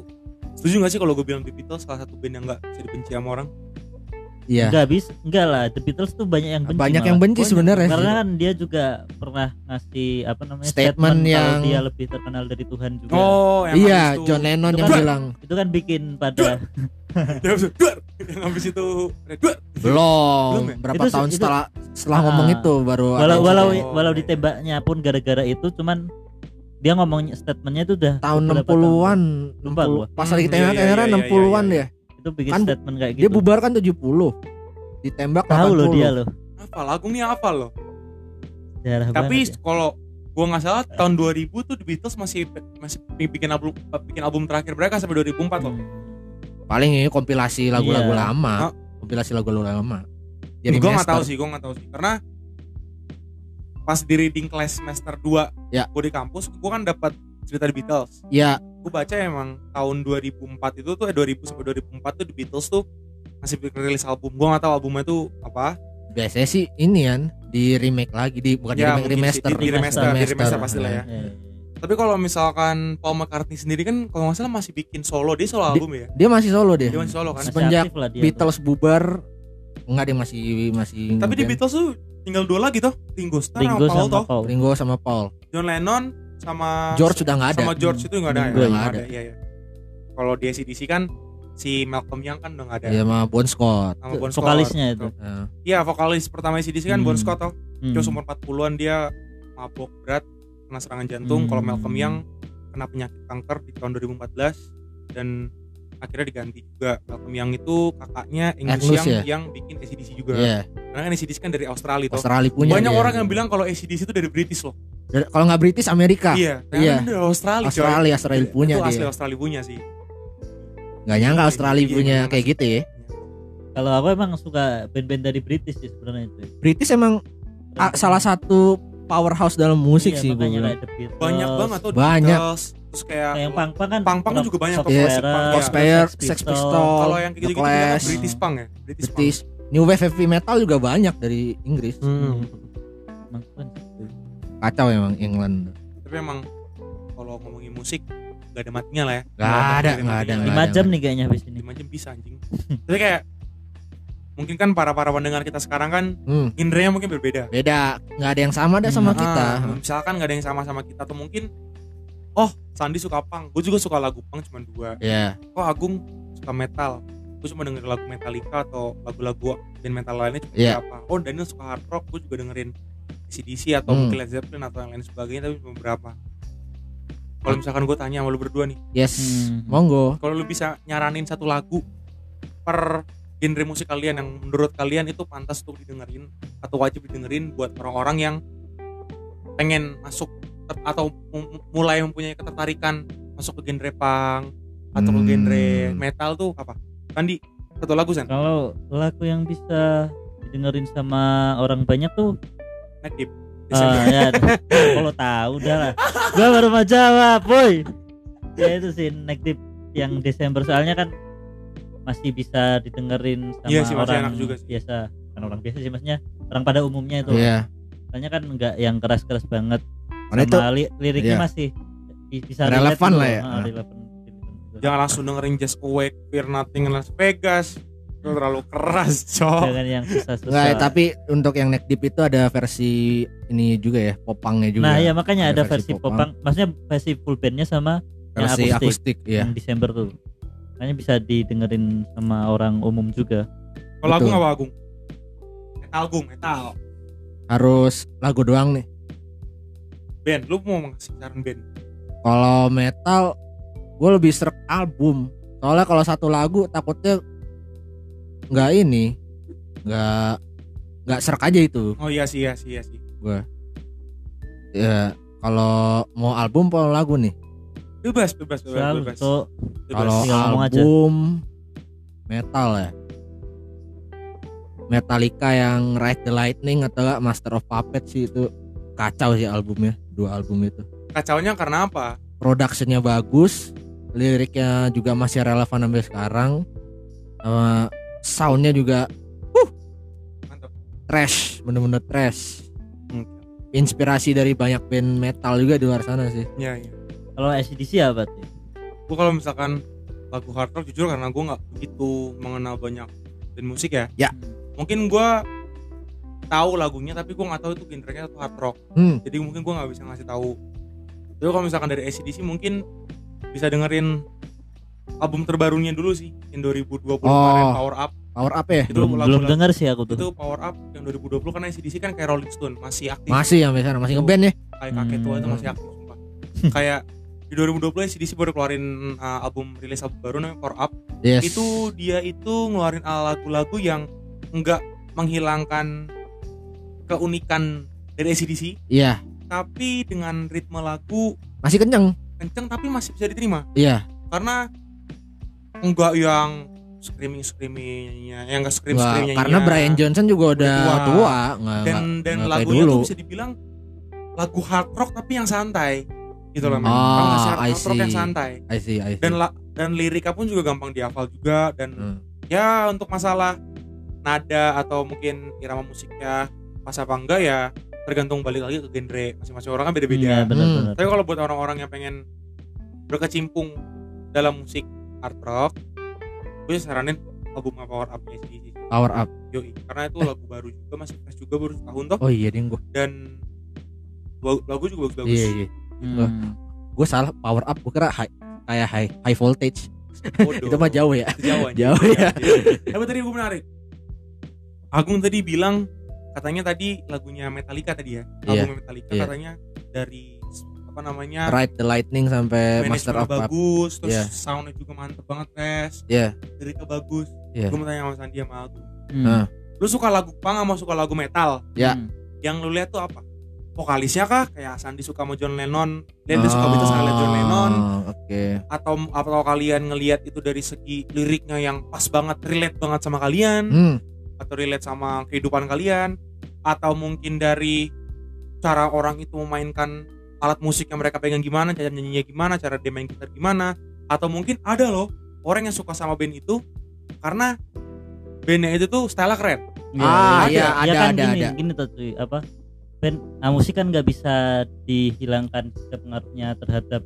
setuju gak sih kalau gue bilang The Beatles salah satu band yang gak bisa dibenci sama orang
iya.
Enggak bis, enggak lah. The Beatles tuh banyak yang benci.
Banyak
malah.
yang benci
Banyak.
sebenarnya. sih.
karena kan dia juga pernah ngasih apa namanya
Iya. Statement
kalau
yang-
dia lebih terkenal dari Tuhan juga
oh yang
Iya,
habis itu-
John Lennon
Itu
yang
kan-
bilang
itu kan bikin pada
yang habis itu "Duar!" Gitu, yang habis itu "Duar!" Belum ya?
belum berapa
Itu se-
tahun
itu-
setelah setelah ngomong
Ah.
itu baru ada
walau
yang
walau
bilang,
Oh,
walau
iya.
ditembaknya pun gara-gara itu cuman dia ngomongnya statementnya itu udah
tahun
beberapa
60-an
Lupa gua.
60 pas lagi
Hmm,
tembak
iya, iya,
era
iya,
60-an
iya,
ya
tahun. itu bikin
Kan
statement kayak
dia
gitu
bubar kan 70 ditembak
tahu loh
80
dia loh
apa lagu nih apa loh
Jarah
tapi
banget ya.
kalau gua nggak salah tahun 2000 tuh The Beatles masih masih bikin album bikin album terakhir mereka sampai 2004 loh
Hmm.
paling ini kompilasi lagu-lagu
Iya.
lama
Ah.
kompilasi lagu-lagu lama
Gue
Jadi
gua nggak tahu sih, gua nggak tahu sih. Karena pas di reading class semester 2
Ya.
gua di kampus, gua kan dapat cerita The Beatles.
ya
Gua baca emang tahun 2004 itu tuh eh 2000 sampai 2004 tuh The Beatles tuh masih rilis album. Gua nggak tahu albumnya tuh apa.
biasanya sih ini kan di remake lagi di bukan
Ya,
di remake
mungkin sih,
remaster
di- di
remaster, di
remaster pastilah ya.
Iya, iya.
Tapi kalau misalkan Paul McCartney sendiri kan kalau nggak salah masih bikin solo, dia solo
Di- Iya.
album ya.
dia masih solo dia
Dia masih solo kan.
Masih
Semenjak
aktif lah dia tuh.
Beatles bubar enggak dia masih masih
Tapi di
ngeband.
Beatles tuh tinggal dua lagi tuh, Ringo Starr
Ringo
sama Paul
sama
toh.
Paul
Ringo sama Paul
John Lennon sama
George sudah nggak ada
Ah, sama George itu nggak ada ya
Ringo
nggak
nggak
ada, iya iya kalau di ACDC kan si Malcolm Young kan udah nggak ada
dia Iya, sama Bon Scott
sama Bon Scott.
vokalisnya itu
Nah,
iya vokalis pertama ACDC kan Bon
Hmm.
Scott toh
Hmm.
dia umur 40-an dia mabok berat kena serangan jantung
Hmm.
kalau Malcolm Young kena penyakit kanker di tahun 2014 dan akhirnya diganti juga Malcolm Young itu kakaknya Angus
Angus
Young
ya?
yang bikin ACDC juga
iya
karena kan ACDC kan dari Australia toh
Australia punya
banyak
dia.
orang yang bilang kalau ACDC itu dari British loh
Dari- kalau nggak British Amerika
iya karena
iya.
kan dari Australia, coy.
Australia Australia punya
itu asli
dia
Australia punya sih
nggak nyangka Australia
Iya,
punya
gimana
kayak
sih?
gitu ya
kalau aku emang suka band-band dari British sih sebenarnya itu
British emang ah, salah satu powerhouse dalam musik
Iya,
sih gue
makanya
bilang.
kayak The Beatles,
banyak banget tuh
Oh, Banyak.
Beatles, terus kayak
Kayak yang pang-pang kan
Pang-pang kan juga banyak,
Soft
Iya,
Opera,
Pang-
Cosplayer,
Sex
Sex
Pistols.
Pistols,
kalau yang kayak
The
gitu-gitu kan
Clash,
British punk ya British,
British, New Wave Heavy Metal juga banyak dari Inggris.
punk
Hmm. Emang keren sih.
Kacau emang England.
tapi emang kalau ngomongin musik gak ada matinya lah ya
Gak ada, gak ada,
matinya.
gak
lima
ada.
jam nih kayaknya habis ini
lima jam bisa anjing tapi kayak mungkin kan para para pendengar kita sekarang kan
Hmm,
genrenya mungkin berbeda
beda, nggak ada yang sama deh sama Oh,
Hmm.
kita.
Ah, misalkan gak ada yang sama sama kita atau mungkin oh Sandi suka punk gue juga suka lagu punk cuma dua
Ya,
oh Agung suka metal gue cuma denger lagu Metallica atau lagu-lagu band metal lainnya cuma
Iya.
berapa oh Daniel suka hard rock gue juga dengerin CDC atau
Hmm.
mungkin Led Zeppelin atau yang lain sebagainya tapi cuma berapa kalau
Hmm.
misalkan gue tanya sama lu berdua nih
yes,
Hmm.
monggo.
kalau lu bisa nyaranin satu lagu per genre musik kalian yang menurut kalian itu pantas untuk didengerin atau wajib didengerin buat orang-orang yang pengen masuk ter- atau mu- mulai mempunyai ketertarikan masuk ke genre punk atau ke
Hmm. Ah.
genre metal tuh apa? Tadi satu lagu San,
Kalau lagu yang bisa didengerin sama orang banyak tuh
Mad Deep.
Ah, ya. Kalau tahu udah lah. Gua baru mau jawab, boy. Ya itu sih negatif yang Desember soalnya kan masih bisa didengerin sama
Iya sih, masih
orang
enak juga sih.
biasa. Kan orang biasa sih maksudnya orang pada umumnya itu.
Iya.
Soalnya kan enggak yang keras-keras banget.
Karena itu
sama li- liriknya
Oh, iya.
masih i- bisa
Relevan
relate
lah
gitu.
ya.
Ah, relevan.
Jangan langsung dengerin Just Awake, Fear Nothing in Las Vegas. Itu terlalu keras, cok.
Jangan yang susah-susah.
Nggak, ya, tapi untuk yang neck deep itu ada versi ini juga ya, popangnya juga.
nah, ya makanya
Ada
ada,
versi
versi popang, maksudnya versi full bandnya sama
versi
yang Hmm.
akustik, ya.
yang Desember tuh. Makanya bisa didengerin sama orang umum juga.
Kalau Agung
betul.
apa Agung? Metal Agung, metal.
Harus lagu doang nih.
Ben, lu mau ngasih saran Ben?
Kalau metal gue lebih serak album. Soalnya kalau satu lagu takutnya nggak ini, nggak nggak serak aja itu.
Oh iya sih, iya sih, iya sih.
Ya, kalau mau album atau lagu nih?
Bebas, bebas, bebas,
Selalu
bebas.
tuh
bebas.
Kalau
Tinggal ngomong aja.
album metal ya. Metallica yang Ride the Lightning atau nggak Master of Puppets sih itu kacau sih albumnya, dua album itu.
kacaunya karena apa?
Productionnya bagus, liriknya juga masih relevan sampai sekarang. Sama soundnya juga
Mantap.
trash, bener-bener trash.
Hmm.
Inspirasi dari banyak band metal juga di luar sana sih.
Iya, iya.
Kalau SCDC apa tuh?
Gue kalau misalkan lagu hard rock jujur karena gue nggak begitu mengenal banyak dan musik ya.
Ya.
Mungkin gue tahu lagunya tapi gue nggak tahu itu genrenya itu hard rock.
Hmm,
Jadi mungkin gue nggak bisa ngasih tahu. Tapi kalau misalkan dari ACDC mungkin bisa dengerin album terbarunya dulu sih yang 2020 kemarin
Oh.
Power Up
power up ya?
Itu
Belum,
lagu-
belum
lagu-
dengar sih aku tuh.
itu Power Up yang 2020 karena ACDC kan kayak Rolling Stone masih aktif
Masih ya, misalnya masih
Tuh.
ngeband ya?
kayak kakek tua itu
Hmm.
masih aktif sumpah kayak di 2020 ACDC baru keluarin uh, album rilis album baru namanya Power Up
Yes.
itu dia itu ngeluarin lagu-lagu yang enggak menghilangkan keunikan dari ACDC
Iya,
tapi dengan ritme lagu
masih kenceng.
kenceng tapi masih bisa diterima
Iya.
karena enggak yang screaming screamingnya yang enggak scream
Nggak,
screamingnya
karena Brian Johnson juga udah
iya. Udah
tua,
tua.
nggak
dan
nggak-
dan
nggak kayak
lagunya
dulu.
tuh bisa dibilang lagu hard rock tapi yang santai gitu loh men.
Ah,
Tau nggak sih hard,
I
hard rock yang
see.
santai
I see, I see.
dan la- dan liriknya pun juga gampang dihafal juga dan
Hmm.
ya untuk masalah nada atau mungkin irama musiknya pas apa enggak ya tergantung balik lagi ke genre masing-masing orang kan beda-beda
Iya, benar-benar.
Hmm.
tapi kalau buat orang-orang yang pengen berkecimpung dalam musik hard rock gue saranin album Power Up ACDC
power up.
Yoi, karena itu
Eh.
lagu baru juga masih fresh juga baru setahun toh
Oh iya, ding gua.
dan lagu lagu juga bagus-bagus
Iya, iya.
Hmm.
Gua salah power up, gua kira high, kayak high high voltage.
Bodoh.
Itu mah jauh ya.
Itu jauh anjing.
Jauh ya.
tapi tadi gue menarik Agung tadi bilang katanya tadi lagunya Metallica tadi ya
Iya.
album Metallica
Iya.
katanya dari apa namanya
Ride the lightning sampai master
manajemennya
of up.
bagus terus
Iya.
soundnya juga mantep banget tes
Iya.
liriknya bagus
Iya.
gue mau tanya sama Sandi sama Agung
Hmm.
Nah.
lu suka lagu punk sama suka lagu metal
Ya.
Hmm.
yang lu lihat tuh apa vokalisnya kah kayak Sandi suka sama John Lennon Lennon suka
Oh,
Beatles sama John Lennon
Oke.
atau atau kalian ngelihat itu dari segi liriknya yang pas banget relate banget sama kalian
Hmm.
atau relate sama kehidupan kalian atau mungkin dari cara orang itu memainkan alat musik yang mereka pegang gimana cara nyanyinya gimana cara dia main gitar gimana atau mungkin ada loh orang yang suka sama band itu karena bandnya itu tuh style keren
Iya,
Ah,
iya.
iya,
Ya
ada,
kan
ada,
gini,
ada.
gini tuh cuy, apa? Band ah, musik kan nggak bisa dihilangkan juga pengaruhnya terhadap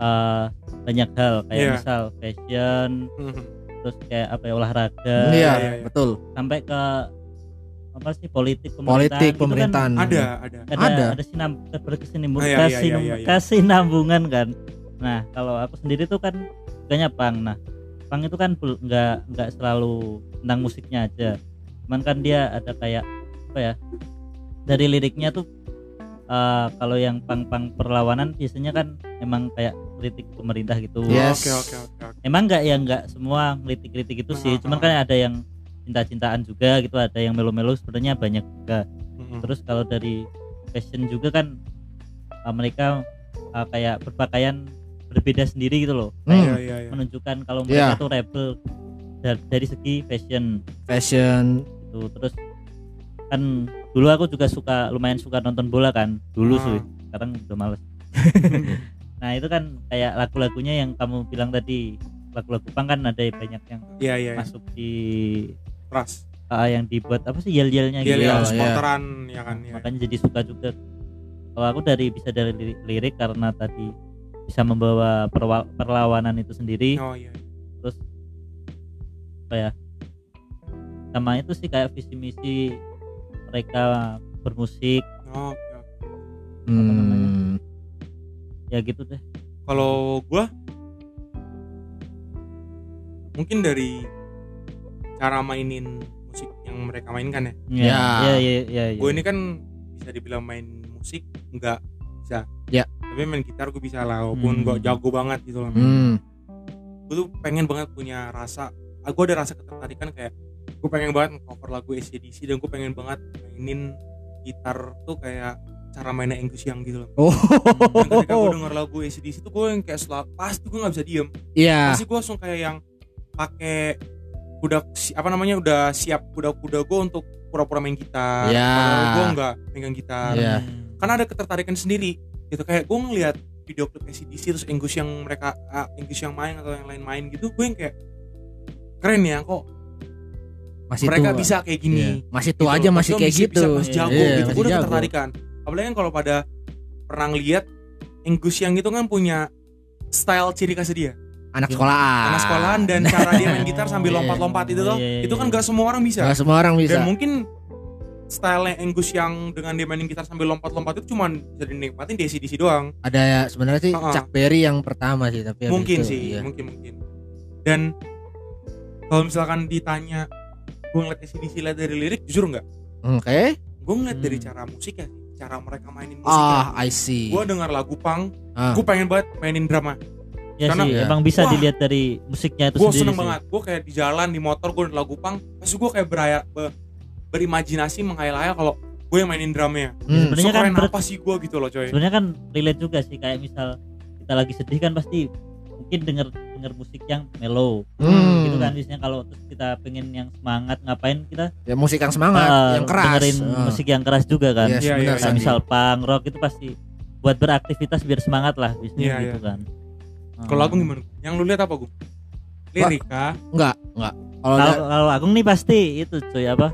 eh, banyak hal kayak
Iya.
misal fashion,
Hmm.
terus kayak apa ya olahraga,
Iya,
iya, iya.
betul.
sampai ke apa sih politik pemerintahan.
Politik
gitu kan
pemerintahan.
ada ada
ada
Ada.
ada, sinam eh, berkesinambungan
Ah, iya, iya, iya, iya, iya.
kesinambungan kan nah kalau aku sendiri tuh kan sukanya pang nah pang itu kan bel- nggak nggak selalu tentang musiknya aja cuman kan dia ada kayak apa ya dari liriknya tuh eh, kalau yang pang-pang perlawanan biasanya kan emang kayak kritik pemerintah gitu
Iya. Yes.
oke oke oke oke.
emang nggak yang nggak semua kritik-kritik itu
Ah,
sih cuman
ah.
kan ada yang cinta-cintaan juga gitu ada
Hmm.
yang melo-melo sebenarnya banyak juga
Mm-mm.
terus kalau dari fashion juga kan uh, mereka uh, kayak berpakaian berbeda sendiri gitu loh
Iya,
Hmm,
iya, iya.
menunjukkan kalau
Iya.
mereka tuh rebel dari, dari segi fashion
fashion
gitu terus kan dulu aku juga suka lumayan suka nonton bola kan dulu
Ah.
Hmm.
sih sekarang udah males nah itu kan kayak lagu-lagunya yang kamu bilang tadi lagu-lagu pang kan ada banyak yang
Iya, iya, iya.
masuk di
Trust.
ah, yang dibuat apa sih yel-yelnya
Dia lihat
gitu
Yel-yel,
Nah,
iya.
sporteran ya kan. iya, iya.
Hmm, makanya jadi suka juga kalau aku dari bisa dari lirik, lirik karena tadi bisa membawa perwa- perlawanan itu sendiri ya?
Oh iya.
sama itu sih kayak visi misi mereka bermusik
Oh, oke, oke.
namanya?
hmm,
ya gitu deh
Kalau gua mungkin dari cara mainin musik yang mereka mainkan ya.
ya
Ya.
ya ya ya, ya.
Gue ini kan bisa dibilang main musik enggak bisa.
Ya.
Tapi main gitar gue bisa lah walaupun
Hmm.
gue jago banget gitu loh.
hmm,
Gue tuh pengen banget punya rasa ah, gue ada rasa ketertarikan kayak gue pengen banget cover lagu ACDC dan gue pengen banget mainin gitar tuh kayak cara mainnya Angus Young gitu loh.
oh
Dan ketika gue denger lagu ACDC tuh gue yang kayak selalu pasti gue nggak bisa diem
iya
pasti gue langsung kayak yang pakai kuda si- apa namanya udah siap kuda-kuda gue untuk pura-pura main gitar
Ya.
padahal gue nggak megang gitar
Iya.
karena ada ketertarikan sendiri gitu kayak gue ngeliat video klip ACDC terus English yang mereka ah, English yang main atau yang lain main gitu gue yang kayak keren ya kok
masih
mereka
tua
bisa kayak gini
Iya. masih tua
gitu loh.
aja masih
Maksudnya
kayak
bisa-
gitu
bisa, masih jago
Iya,
gitu
masih
gue udah
jago.
ketertarikan apalagi kan kalau pada pernah lihat English yang itu kan punya style ciri khas dia
anak sekolahan
gitu. anak sekolahan dan cara dia main gitar sambil
Iya.
lompat-lompat itu loh
Iya, iya,
itu kan
iya.
gak semua orang bisa
Nggak semua orang bisa
dan mungkin style Angus yang dengan dia mainin gitar sambil lompat-lompat itu cuman bisa dinikmatin di ACDC doang
ada ya sebenarnya sih
Ha-ha.
Chuck Berry yang pertama sih tapi habis
mungkin
itu,
sih
iya.
mungkin mungkin dan kalau misalkan ditanya gue ngeliat ACDC lihat dari lirik jujur nggak
Hmm, oke
gue ngeliat dari
Hmm.
cara musik ya cara mereka mainin
ah
musik ya.
I see
gue dengar lagu punk
Ah.
gue pengen banget mainin drama
ya
Karena-
sih
Iya.
emang bisa
Wah.
dilihat dari musiknya itu
gue
sendiri
seneng
sih.
banget gue kayak di jalan di motor gue lagu punk pasti gue kayak beraya, be- berimajinasi menghayal-hayal kalau gue yang mainin drumnya
Hmm.
Sebenarnya kan
Sekeren
ber-
apa sih gue gitu loh coy
sebenarnya kan relate juga sih kayak misal kita lagi sedih kan pasti mungkin denger denger musik yang mellow
Hmm.
gitu kan biasanya kalau terus kita pengen yang semangat ngapain kita
ya musik yang semangat
eh,
yang keras
dengerin
Ah.
musik yang keras juga kan
Yes,
Iya,
benar,
iya,
Kayak
Sandi.
misal punk rock itu pasti buat beraktivitas biar semangat lah biasanya
Iya,
gitu
iya.
kan Hmm.
kalau lagu gimana yang lu lihat apa ah? gue lirika
enggak enggak kalau
kalau
da-
kalau Agung nih pasti itu cuy apa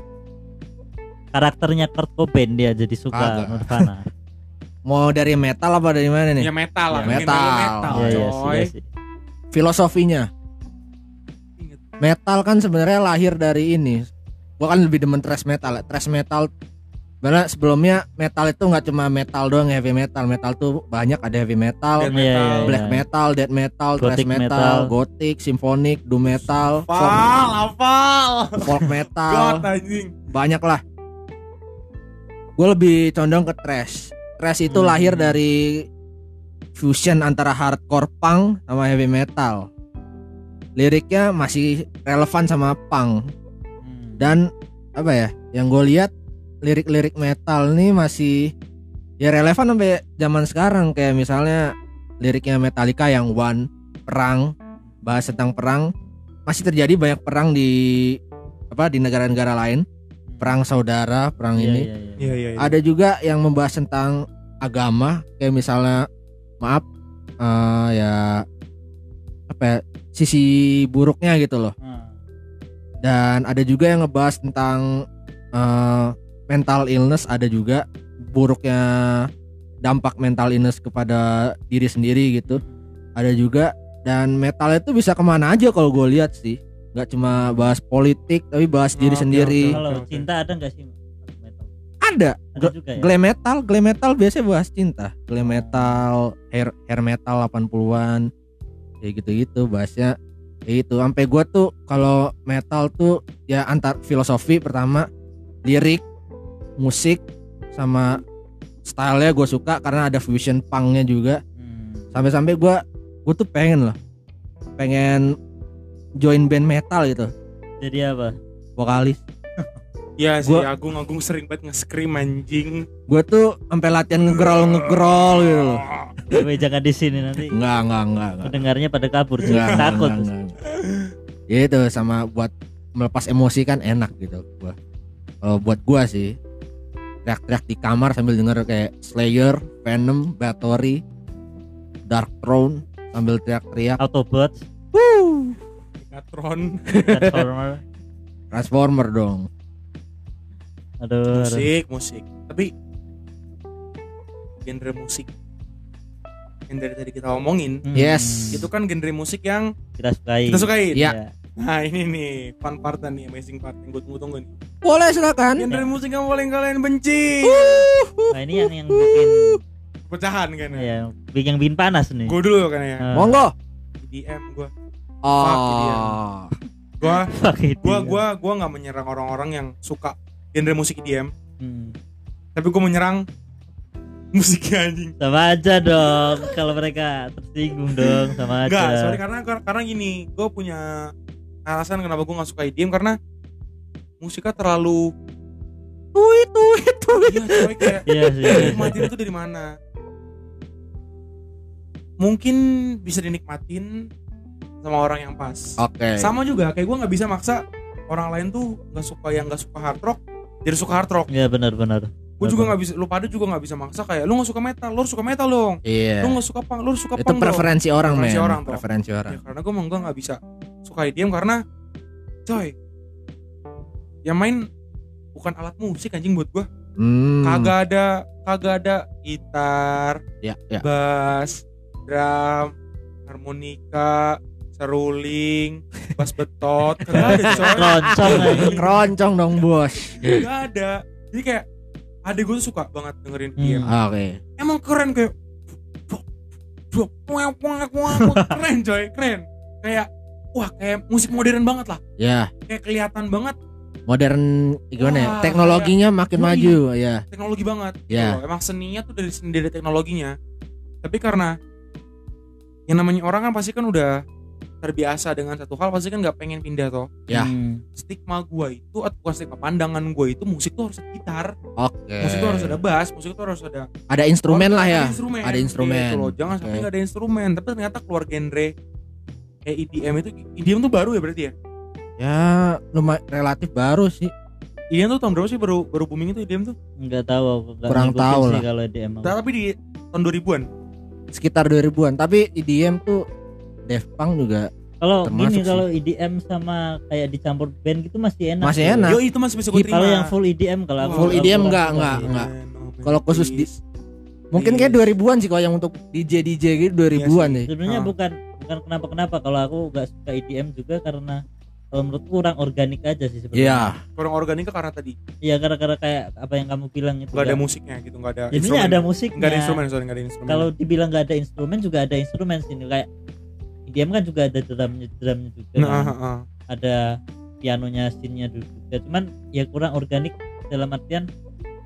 karakternya Kurt Cobain dia jadi suka
Kagak.
Nirvana Iya,
mau dari metal apa dari mana nih
ya metal lah
Ya,
mungkin
metal.
lu metal
Iya, iya sih,
coy
iya sih.
filosofinya
Ingat.
metal kan sebenarnya lahir dari ini gua kan lebih demen thrash metal ya. thrash metal karena sebelumnya metal itu nggak cuma metal doang heavy metal metal tuh banyak ada heavy metal
Death
Iya, iya,
metal.
iya.
black metal death metal thrash
Gothic metal.
metal, gothic symphonic doom metal folk,
Apal, apal.
folk
God
metal
anjing.
banyak lah gue lebih condong ke thrash thrash itu
Hmm.
lahir dari fusion antara hardcore punk sama heavy metal liriknya masih relevan sama punk
Hmm.
dan apa ya yang gue lihat lirik-lirik metal nih masih ya relevan sampai zaman sekarang kayak misalnya liriknya Metallica yang one perang bahas tentang perang masih terjadi banyak perang di apa di negara-negara lain perang saudara perang
Iya,
ini
iya, iya.
Iya iya.
ada juga yang membahas tentang agama kayak misalnya maaf eh, ya apa ya, sisi buruknya gitu loh
Hmm.
dan ada juga yang ngebahas tentang eh, mental illness ada juga buruknya dampak mental illness kepada diri sendiri gitu ada juga dan metal itu bisa kemana aja kalau gue lihat sih nggak cuma bahas politik tapi bahas diri
Oke,
sendiri
oke.
Kalau cinta ada nggak sih metal?
ada
Ada juga ya.
glam metal glam metal biasanya bahas cinta glam metal hair hair metal 80-an kayak gitu-gitu bahasnya kayak itu sampai gua tuh kalau metal tuh ya antar filosofi pertama lirik musik sama stylenya gue suka karena ada fusion punknya juga
Hmm.
sampai-sampai gua gue tuh pengen loh pengen join band metal gitu
Jadi apa?
vokalis
Iya sih,
Gua-
Agung Agung sering banget nge-scream anjing.
Gue tuh sampai latihan ngegrol ngegrol gitu loh.
Ah,
Dewe jangan di sini nanti
Enggak enggak enggak enggak.
pendengarnya pada kabur
Enggak,
sih.
Iya, enggak,
takut.
enggak, enggak, enggak. Ya itu sama buat melepas emosi kan enak gitu gua. Eh, buat gua sih teriak-teriak di kamar sambil denger kayak Slayer, Venom, Bathory, Dark Throne sambil teriak-teriak
Autobot,
Megatron,
Transformer.
Transformer dong.
Aduh. aduh.
musik, musik. Tapi genre musik yang dari tadi kita omongin
Hmm,
Yes.
itu kan genre musik yang
kita sukai.
kita sukain.
Iya.
Nah ini nih fun part nih amazing part yang gue tunggu-tunggu nih.
Boleh silakan.
Genre musik yang paling kalian benci.
Nah, ini yang yang bikin
Pecahan kan ya.
Iya.
ya, bikin- yang bikin panas nih.
Gue dulu kan ya.
Eh,
Monggo.
EDM gue. iya.
Oh.
Gue
fuck it.
gue gue gue nggak menyerang orang-orang yang suka genre musik EDM.
Hmm.
Tapi gue menyerang musiknya anjing.
Sama aja dong kalau mereka tersinggung dong sama
Enggak,
Iya.
aja.
sorry karena karena gini, gue punya alasan kenapa gue nggak suka EDM karena musiknya terlalu
Tuit tuit tuit.
iya coy kayak
Iya sih.
nikmatin itu dari mana? Mungkin bisa dinikmatin sama orang yang pas.
Oke.
Sama juga kayak gue nggak bisa maksa orang lain tuh nggak suka yang nggak suka hard rock jadi suka hard rock.
Iya benar benar.
Gue juga nggak bisa, lu pada juga nggak bisa maksa kayak lu nggak suka metal, lu harus suka metal dong.
Iya.
Lu nggak suka punk, lu harus suka
Itu
punk dong.
preferensi orang, men.
Preferensi orang, Bro.
Preferensi orang.
ya karena gue emang gue nggak bisa suka IDM karena coy yang main bukan alat musik anjing buat gue
Hmm.
kagak ada kagak ada gitar
Ya, ya.
bass drum harmonika seruling bass betot kagak ada coy
Keroncong
Nah, iya.
anjing.
Keroncong dong, Bos.
kagak ada jadi kayak adik gue tuh suka banget dengerin IDM
Ah, Oke.
emang keren kayak keren coy keren kayak wah kayak musik modern banget lah
Ya,
kayak kelihatan banget
modern gimana ya?
Wah,
Teknologinya makin
Yoi.
maju, ya.
teknologi banget
Ya.
Tuh, emang seninya tuh dari seni dari teknologinya tapi karena yang namanya orang kan pasti kan udah terbiasa dengan satu hal pasti kan nggak pengen pindah toh
Ya.
Hmm.
stigma gue itu atau bukan stigma pandangan gue itu musik tuh harus ada gitar
Oke.
musik tuh harus ada bass musik tuh harus ada
Ada instrumen lah ya.
ada instrumen,
Ada instrumen.
Gitu loh. jangan sampai
Oke.
nggak ada instrumen tapi ternyata keluar genre E kayak EDM itu EDM tuh baru ya berarti ya
Ya, lumayan relatif baru sih.
EDM tuh tahun berapa sih baru baru booming itu E EDM tuh
Enggak tahu aku enggak
Kurang
ngikutin
tahu
sih
lah.
kalau DM. aku.
tapi di tahun 2000-an
Sekitar 2000-an, tapi EDM tuh Def Punk juga
Kalau
Termasuk
gini
sih.
kalau EDM sama kayak dicampur band gitu masih enak.
Masih
Tuh.
enak. Nah.
yo itu masih bisa gue
Ih, Kalau
terima Iya,
yang full EDM kalau aku-
Full
aku
EDM
kurang
enggak,
suka
enggak, Ah,
sih.
enggak.
Fenomenal.
Kalau khusus di-
Please.
mungkin kayak 2000-an sih kalau yang untuk DJ DJ gitu 2000-an nih.
Sebenarnya
Ah.
bukan bukan kenapa-kenapa kalau aku enggak suka EDM juga karena kalau menurutku kurang organik aja sih sebenarnya.
Iya.
kurang organik karena tadi
Iya, gara-gara kayak apa yang kamu bilang
Iya.
itu.
nggak ada
enggak-
musiknya gitu nggak ada
Jadinya ada musiknya.
nggak ada instrumen sorry nggak ada instrumen
Kalau dibilang nggak ada instrumen juga ada instrumen sini kayak EDM kan juga ada drumnya drumnya juga.
nah,
kan.
ah, ah.
ada pianonya scene-nya juga cuman ya kurang organik dalam artian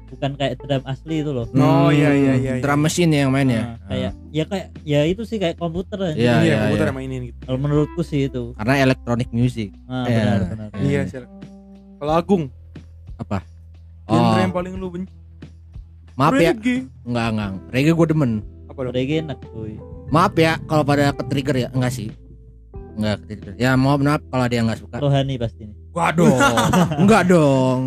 bukan kayak drum asli itu loh
Oh, iya, iya, iya, iya.
Drum machine yang main Hmm, ya.
Nah, kayak ya kayak ya itu sih kayak komputer aja.
Iya,
iya
iya,
komputer
iya.
yang mainin gitu
kalau menurutku sih itu
Karena electronic music.
nah,
Iya.
benar benar
Iya.
iya sih kalau Agung
Apa?
genre yang
Oh,
paling lu benci
maaf ya.
reggae
Enggak, enggak. Reggae gue demen.
apa dong
reggae enak cuy
Maaf ya kalau pada ke-trigger ya. Enggak sih. Enggak ke-trigger. Ya, maaf maaf kalau ada yang enggak suka.
rohani pasti nih
Waduh. enggak dong.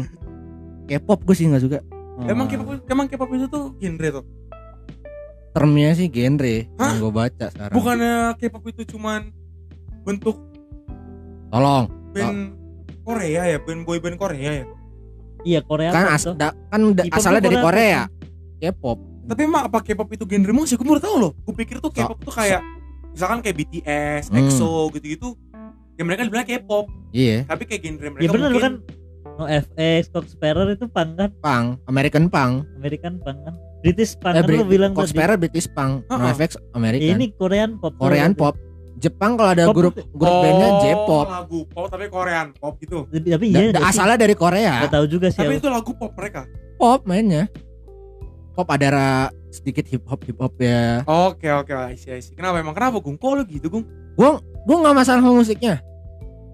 K-pop gue sih enggak suka.
emang
Nah,
K-pop emang K-pop itu tuh genre tuh
Termnya sih genre
Hah?
yang gue baca sekarang.
bukannya K-pop itu cuman bentuk
Tolong.
band Korea ya band boy band Korea ya
iya Korea
Kan
pop
as
tuh.
da- kan da-
K-pop
asalnya
tuh
dari
Korea
Korea. K-pop.
tapi emang apa K-pop itu genre musik gue baru tahu loh gue pikir tuh K-pop tuh kayak misalkan kayak BTS,
Hmm.
EXO gitu-gitu ya mereka dibilang K-pop
Iya,
tapi kayak genre mereka
ya benar
mungkin
kan no FX Cox Sparrow itu punk kan
punk, American punk.
American punk kan British punk
eh,
kan lu
Brit-
bilang
Cox
tadi
Sparrow British punk,
Ha-ha.
NoFX
Ya,
American.
ini Korean pop
Korean pop. Jepang kalau ada
Pop Oh.
grup grup bandnya J-pop.
lagu pop tapi Korean pop gitu
tapi tapi
Da-
iya
da-
nggak sih?
asalnya dari Korea.
nggak tahu juga
Iya,
sih ya.
tapi
aku.
itu lagu pop mereka
Pop mainnya. Pop ada ra- sedikit hip hop hip hop ya.
oke oke I see, I see. kenapa emang kenapa Gung kok lu gitu Gung
Gue nggak masalah sama musiknya.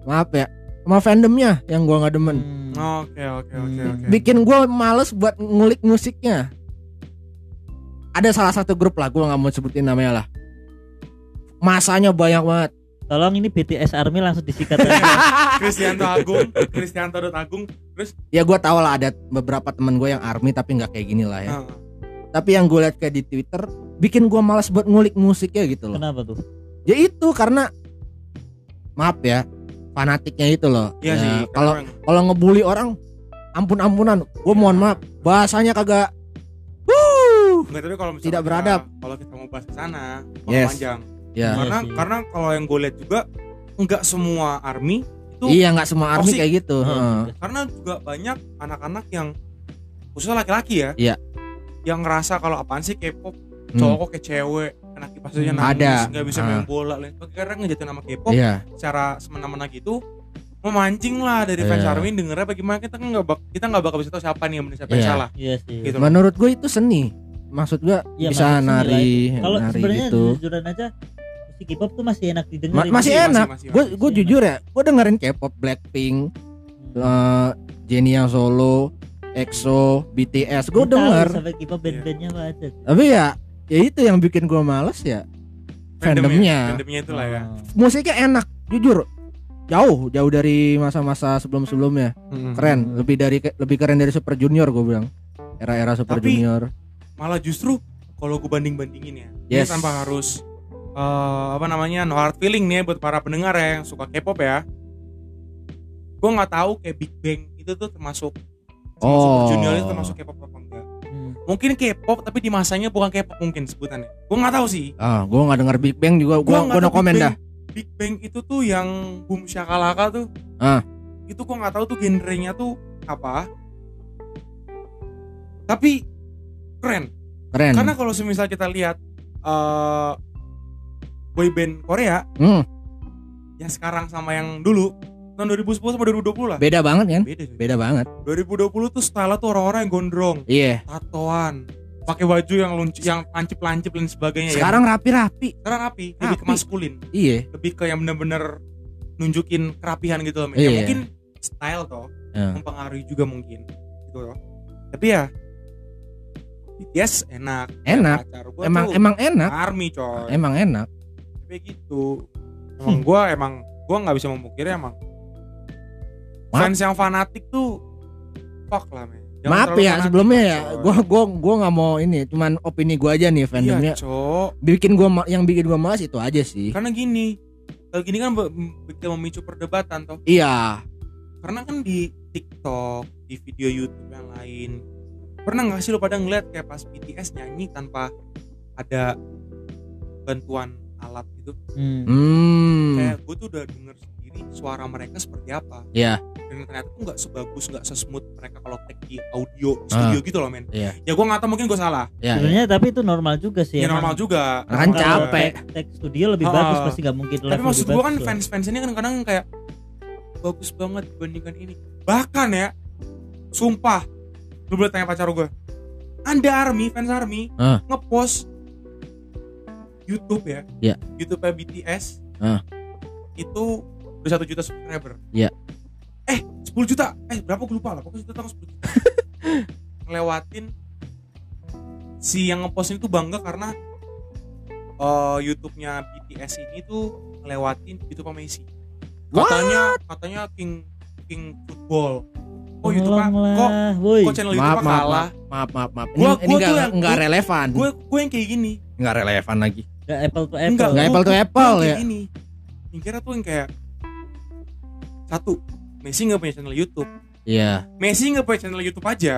Maaf ya. Sama fandomnya yang gua nggak demen.
Hmm.
Oke oke oke
Hmm.
oke.
bikin gue males buat ngulik musiknya ada salah satu grup lah gue nggak mau sebutin namanya lah masanya banyak banget
Tolong ini BTS Army langsung disikat aja.
Kristianto Agung, Kristianto Dut Agung.
ya gue tau lah ada beberapa temen gue yang army tapi nggak kayak gini lah ya
Nah,
tapi yang gue lihat kayak di twitter bikin gue males buat ngulik musiknya gitu loh
Kenapa tuh?
ya itu karena maaf ya fanatiknya itu loh
iya
Ya,
sih.
kalau
keren.
kalau ngebully orang ampun ampunan gue
Iya.
mohon maaf bahasanya kagak Wuh.
Enggak, tapi kalau misalnya
Tidak
kita-
beradab.
Kalau kita mau bahas ke sana, bakal
Yes.
panjang.
Ya.
Karena
Iya sih.
karena kalau yang gue lihat juga enggak semua army Itu
iya nggak semua army
toxic.
kayak gitu heeh.
karena juga banyak anak-anak yang khususnya laki-laki ya.
Iya.
Yang ngerasa kalau apaan sih K-pop,
Hmm.
cowok kok kayak cewek, anak kipas aja
Hmm,
nangis,
ada.
nggak bisa
Ah.
main bola lain sebagainya. Karena ngejatuhin nama K-pop
iya
secara semena-mena gitu memancing lah dari fans
Iya.
Army dengernya bagaimana kita kan nggak bak- kita nggak bakal bisa tahu siapa nih yang benar siapa yang
Iya.
salah
Iya sih.
gitu loh.
menurut gue itu seni maksud gue
Iya,
bisa
maksud seni
nari
Kalau
nari
sebenarnya
gitu
jujuran aja musik K-pop tuh masih enak Iya, didengar.
Ma- masih
Masih-
enak
masih- masih-
gue
masih.
gue
Masih
jujur ya gue dengerin K-pop Blackpink eh, Genia Solo EXO BTS gue denger
Sampai
Iya.
K-pop band-bandnya apa aja. sih.
tapi ya ya itu yang bikin gue males ya
Fandomnya,
fandomnya
fandomnya itulah ya.
Oh.
musiknya enak jujur jauh jauh dari masa-masa sebelum-sebelumnya keren
Hmm.
lebih dari lebih keren dari Super Junior gue bilang era-era Super
Tapi-
Junior
Malah justru kalau gue banding bandingin ya,
Yes.
ini tanpa harus eh, apa namanya no hard feeling nih buat para pendengar ya, yang suka K-pop ya. Gue nggak tahu kayak Big Bang itu tuh termasuk sama Super
Oh.
Junior itu termasuk K-pop apa enggak?
Hmm.
Mungkin K-pop tapi di masanya bukan K-pop mungkin sebutannya. Gue nggak tahu sih.
ah gue nggak denger Big Bang juga gue
Gua nggak
gue no
tahu
komen
Big
dah
Bang- Big Bang itu tuh yang boom shakalaka tuh.
Ah.
Itu gua nggak tahu tuh genrenya tuh apa. Tapi keren.
keren
Karena kalau semisal kita lihat eh boy band Korea
Hmm,
yang sekarang sama yang dulu tahun 2010 sama 2020 lah.
beda banget kan
Beda. cuy.
beda banget
2020 tuh style tuh orang-orang yang gondrong,
iya
tatoan, pakai baju yang lunci, yang lancip-lancip dan sebagainya. ya.
sekarang rapi-rapi
sekarang api, lebih ke
Rapi.
maskulin.
iya
lebih ke yang bener-bener nunjukin kerapihan gitu loh men.
Iya.
Ya, mungkin style toh
Iya.
mempengaruhi juga mungkin gitu loh tapi ya BTS enak Ya,
Enak.
pacar Iya, gua
emang
tuh
emang enak
army coy
emang enak
tapi gitu emang gua emang gua nggak bisa memungkiri emang
Maaf.
fans yang fanatik tuh fuck lah men Jangan
maaf
terlalu
ya
fanatik,
sebelumnya ya
coy.
gue gue gue nggak mau ini cuman opini gue aja nih
iya Kan-
fandomnya
cok
bikin gue yang bikin gue malas itu aja sih
karena gini kalau gini kan be- bisa memicu perdebatan toh
iya
karena kan di TikTok, di video YouTube yang lain pernah nggak sih lo pada ngeliat kayak pas BTS nyanyi tanpa ada bantuan alat gitu
Hmm.
hmm
kayak gue tuh udah denger sendiri suara mereka seperti apa
Iya.
dan ternyata tuh nggak sebagus nggak sesmooth mereka kalau take di audio di studio gitu loh men
Iya.
ya gue nggak tahu mungkin gue salah
ya, ya.
Sebenarnya tapi itu normal juga sih.
iya, ya
emang.
normal juga
kan
Normal juga.
capek
Kalau Tag studio lebih
Ah.
bagus pasti nggak mungkin.
gitu,
tapi
level
maksud
lebih
gue kan
bagus lah.
fans-fans ini kadang-kadang kayak bagus banget dibandingkan ini bahkan ya sumpah lu boleh tanya pacar gue anda army fans army
Ah.
ngepost YouTube ya
Iya.
YouTube BTS
Ah.
itu udah satu juta subscriber
Iya.
eh 10 juta eh berapa gue lupa lah pokoknya tentang 10 juta ngelewatin si yang ngepost itu bangga karena eh, YouTube-nya BTS ini tuh ngelewatin YouTube Messi. Katanya katanya King King Football. Oh YouTube
Tolong lah,
kok
woi.
kok channel YouTube
Maaf, maaf,
kalah.
maaf maaf maaf ini,
Gua-
ini
gua
nggak-
tuh yang-
nggak
gua-
relevan
Gue gue yang kayak gini.
nggak relevan lagi
Nggak apple to
Enggak,
apple.
Nggak
gua-
apple to
gua-
apple,
gua yang kayak
ya.
Gini. Yang kira tuh yang kayak satu Messi nggak punya channel YouTube.
iya
Messi nggak punya channel YouTube aja.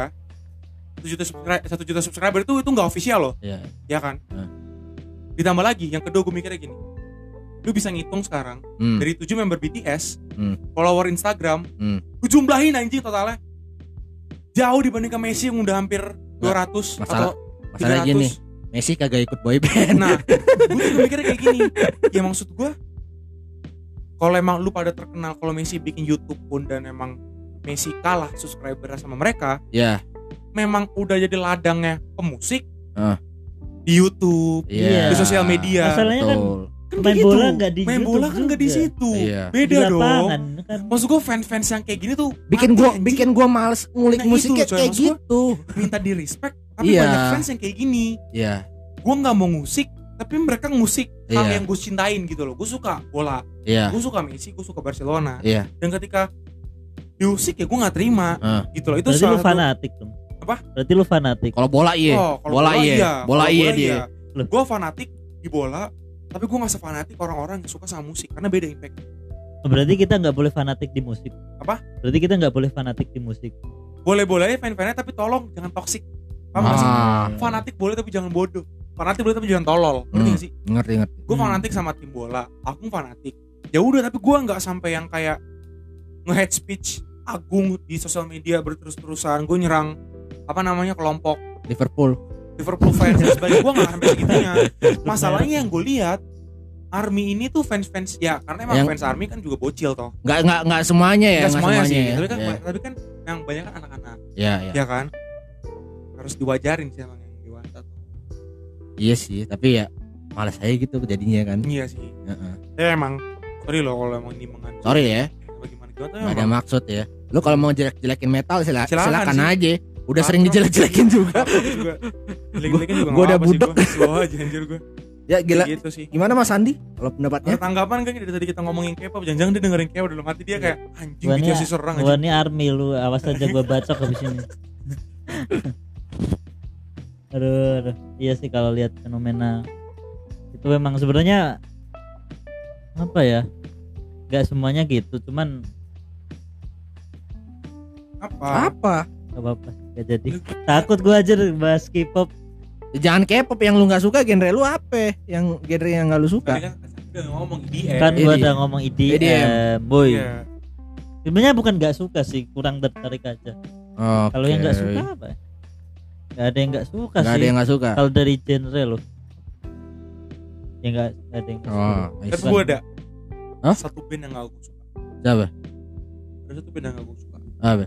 Satu juta subscriber, satu juta subscriber itu itu nggak official loh,
iya
ya kan?
Hmm.
Ditambah lagi yang kedua gue mikirnya gini. Lu bisa ngitung sekarang
Hmm.
dari 7 member BTS
Hmm.
follower Instagram
Hmm.
lu jumlahin anjing totalnya jauh dibandingkan Messi yang udah hampir 200 atau
masalah- masalah
300
gini Messi kagak ikut boyband
nah gue juga mikirnya kayak gini ya maksud gue kalau emang lu pada terkenal kalau Messi bikin YouTube pun dan emang Messi kalah subscriber sama mereka
ya
memang udah jadi ladangnya pemusik
Ah.
di YouTube
Iya.
di sosial media
Masalahnya kan-
betul.
iya. kan
main
begitu.
bola nggak di
main
YouTube
bola kan nggak di
juga.
situ
Iya.
beda
Di
dong Gitu
lapangan, kan.
maksud gua fans-fans yang kayak gini tuh
bikin
mati,
gua
anjing.
bikin gua males ngulik
Nah, itu
musiknya
loh, coy,
kayak
maksud gua.
gitu
minta di respect tapi
Iya.
banyak fans yang kayak gini
Iya.
gua nggak mau musik tapi mereka musik hal
Iya.
yang gue cintain gitu loh gue suka bola
Nah.
Iya.
gue suka Messi gue suka Barcelona
Iya.
dan ketika diusik ya gue nggak terima
Ah.
gitu loh itu
Berarti lu
salah satu
fanatik dong.
Apa?
Berarti lu fanatik.
Kalau bola iya.
Oh, kalau
bola, iya.
Kalau
Bola iya dia.
Loh.
Gua fanatik di bola, tapi gua gak sefanatik orang-orang yang suka sama musik karena beda impact.
Berarti kita nggak boleh fanatik di musik.
Apa?
Berarti kita nggak boleh fanatik di musik.
Boleh-boleh fan-fannya tapi tolong jangan toksik. Paham gak sih?
Ah,
Fanatik boleh tapi jangan bodoh. Fanatik boleh tapi jangan tolol.
Hmm.
Ngerti gak sih?
ngerti ngerti.
Gua
Hmm.
fanatik sama tim bola, aku fanatik. Ya udah tapi gua nggak sampai yang kayak nge-head speech agung di sosial media berterus-terusan gue nyerang apa namanya kelompok
Liverpool.
Liverpool fans dan sebagainya gue gak sampai segitunya masalahnya yang gue lihat Army ini tuh fans-fans ya karena emang
Yang-
fans Army kan juga bocil toh
Enggak enggak enggak semuanya ya,
Nggak
enggak
semuanya,
semuanya.
sih
ya.
tapi kan
Iya,
tapi kan yang banyak kan anak-anak
Iya, iya.
ya kan harus diwajarin sih emang yang dewasa tuh.
Iya sih, tapi ya malas aja gitu jadinya kan.
iya sih
Heeh.
ya emang sorry loh kalau emang ini mengandung
Sorry ya,
bagaimana gimana tuh
enggak ada
emang
maksud ya. Lu kalau mau jelek-jelekin metal
Iya,
sila
Silakan
silakan,
sih.
aja.
Silakan.
Udah sering dijelek-jelekin juga.
Apa juga jelek-jelekin juga
Gua udah budek.
gue slow aja anjir gue
Ya gila. Ya.
gitu sih
Gimana Mas Andi kalau
ada
pendapatnya?
tanggapan kan dari tadi kita ngomongin K-pop jangan-jangan dia dengerin K-pop dalam hati dia kayak anjing
ya,
Bukannya-
gitu sih serang
Gua ini army lu, awas aja gua bacok habis ini. aduh, aduh. Iya sih kalau lihat fenomena itu memang sebenarnya apa ya? Gak semuanya gitu, cuman
apa
Apa?
gak apa-apa, gak jadi. Takut gua aja bahas K-pop.
Ya, Jangan K-pop yang lu nggak suka genre lu apa? Yang genre yang nggak lu
tadi
suka?
kan udah ngomong Iya. IDM
Kan gua
EDM.
udah ngomong IDM,
EDM.
E
boy.
Iya.
Sebenarnya bukan gak suka sih, kurang tertarik aja. Kalau yang
nggak
gak suka apa? ya? Gak ada yang gak suka
nggak
sih.
ada yang nggak suka.
Kalau dari genre loh. Ya gak, gak ada yang gak suka.
Oh, I
Tapi
see.
gue Kan ada
Hah?
Satu band yang gak gue suka
Siapa?
Ada satu band yang gak gue suka
Apa?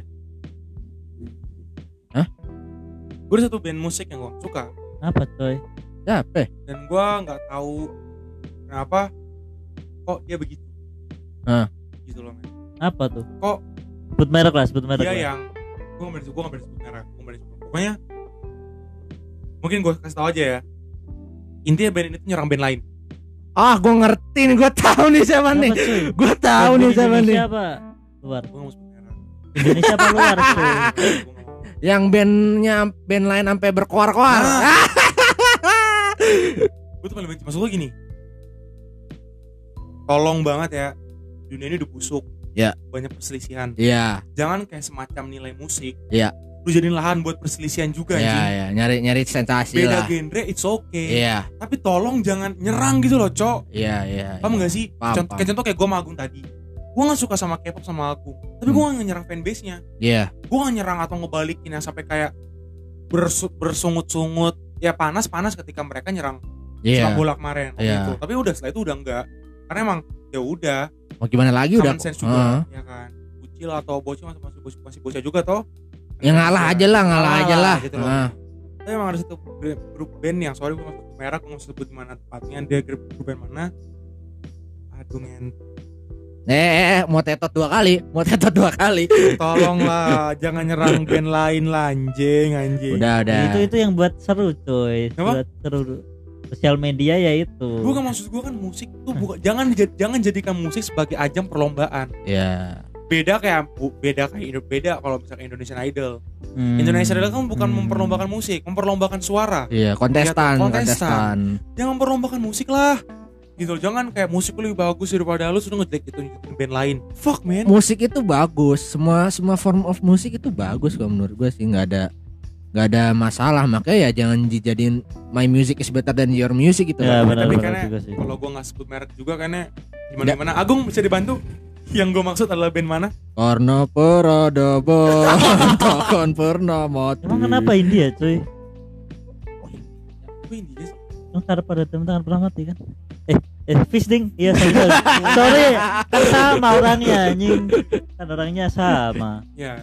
Gue ada satu band musik yang gue suka
Apa coy?
Siapa?
Dan gue gak tahu Kenapa Kok dia begitu
Hah.
Gitu loh men
Apa tuh?
Kok? Iya,
Sebut merek lah, sebut merek
Dia
lah.
yang Gue gak berani sebut Gue gak berani sebut merek Gue gak berani sebut Pokoknya Mungkin gue kasih tau aja ya Intinya band ini tuh nyerang band lain
Ah, gue ngerti nih, gue tahu nih siapa
Apa
nih.
cuy?
Gue tahu nih siapa nih.
Indonesia apa? Luar.
Gue gak mau sebut merek
Indonesia apa luar cuy?
Gua nggak mau.
Yang bandnya band lain sampai berkoar-koar.
Ah. Gue tuh paling benci Maksud gue gini Tolong banget ya Dunia ini udah busuk
Ya.
Banyak perselisihan
Iya,
jangan kayak semacam nilai musik
Iya.
lu jadiin lahan buat perselisihan juga
iya,
anjing
iya, nyari nyari sensasi
beda
lah.
genre it's okay
Iya,
tapi tolong jangan nyerang gitu loh cok
iya, iya.
paham gak sih
Paham,
contoh,
paham.
kayak contoh kayak gue sama Agung tadi gue gak suka sama K-pop sama Agung tapi
Hmm.
gue gak nyerang fanbase nya
Iya,
gue gak nyerang atau ngebalikin yang sampai kayak bersu- bersungut-sungut ya panas-panas ketika mereka nyerang
iya.
sepak bola kemarin waktu
Iya.
itu. tapi udah setelah itu udah enggak karena emang ya udah
Mau gimana lagi udah.
common sense juga
Heeh.
ya kan bucil atau bocil masih masih bocil masih bocil juga toh
Ya ngalah aja lah, ngalah
Ngalah
aja lah.
gitu loh.
Heeh.
tapi emang ada satu gr- grup band yang sorry gue masuk merah gue nggak sebut mana tempatnya dia grup, grup band mana aduh men
Eh, eh, eh, mau tetot dua kali, mau tetot dua kali.
tolonglah jangan nyerang band lain lah anjing anjing
Udah, udah.
Nah,
Gitu.
Itu itu yang buat seru coy.
Apa?
Buat seru. Sosial media ya itu.
gue kan maksud gue kan musik tuh bukan jangan jad- jangan jadikan musik sebagai ajang perlombaan
Iya.
beda kayak bu- beda kayak Indo- beda kalau misalnya Indonesian Idol
Hmm.
Indonesian Idol kan bukan
Hmm.
memperlombakan musik memperlombakan suara
Iya, kontestan,
Iya, kontestan.
kontestan.
jangan memperlombakan musik lah gitu loh. jangan kayak musik lu lebih bagus daripada lu sudah ngejelek itu band lain fuck man
Musik itu bagus, semua semua form of musik itu bagus kalau menurut gue sih nggak ada nggak ada masalah makanya ya jangan dijadiin my music is better than your music gitu
Ya
kan.
benar
Tapi
benar
karena-
juga sih.
kalau gua nggak sebut merek juga karena
Ya.
gimana gimana Agung bisa dibantu yang gue maksud adalah band mana
Karena peradaban takkan pernah mati.
Emang kenapa ya? India coy?
Oh, iya.
Gua India sih
Emang cara pada teman tangan pernah mati kan? Eh, eh fish ding. Iya sorry. sorry. sorry. Kan sama orangnya anjing. Kan orangnya sama.
ya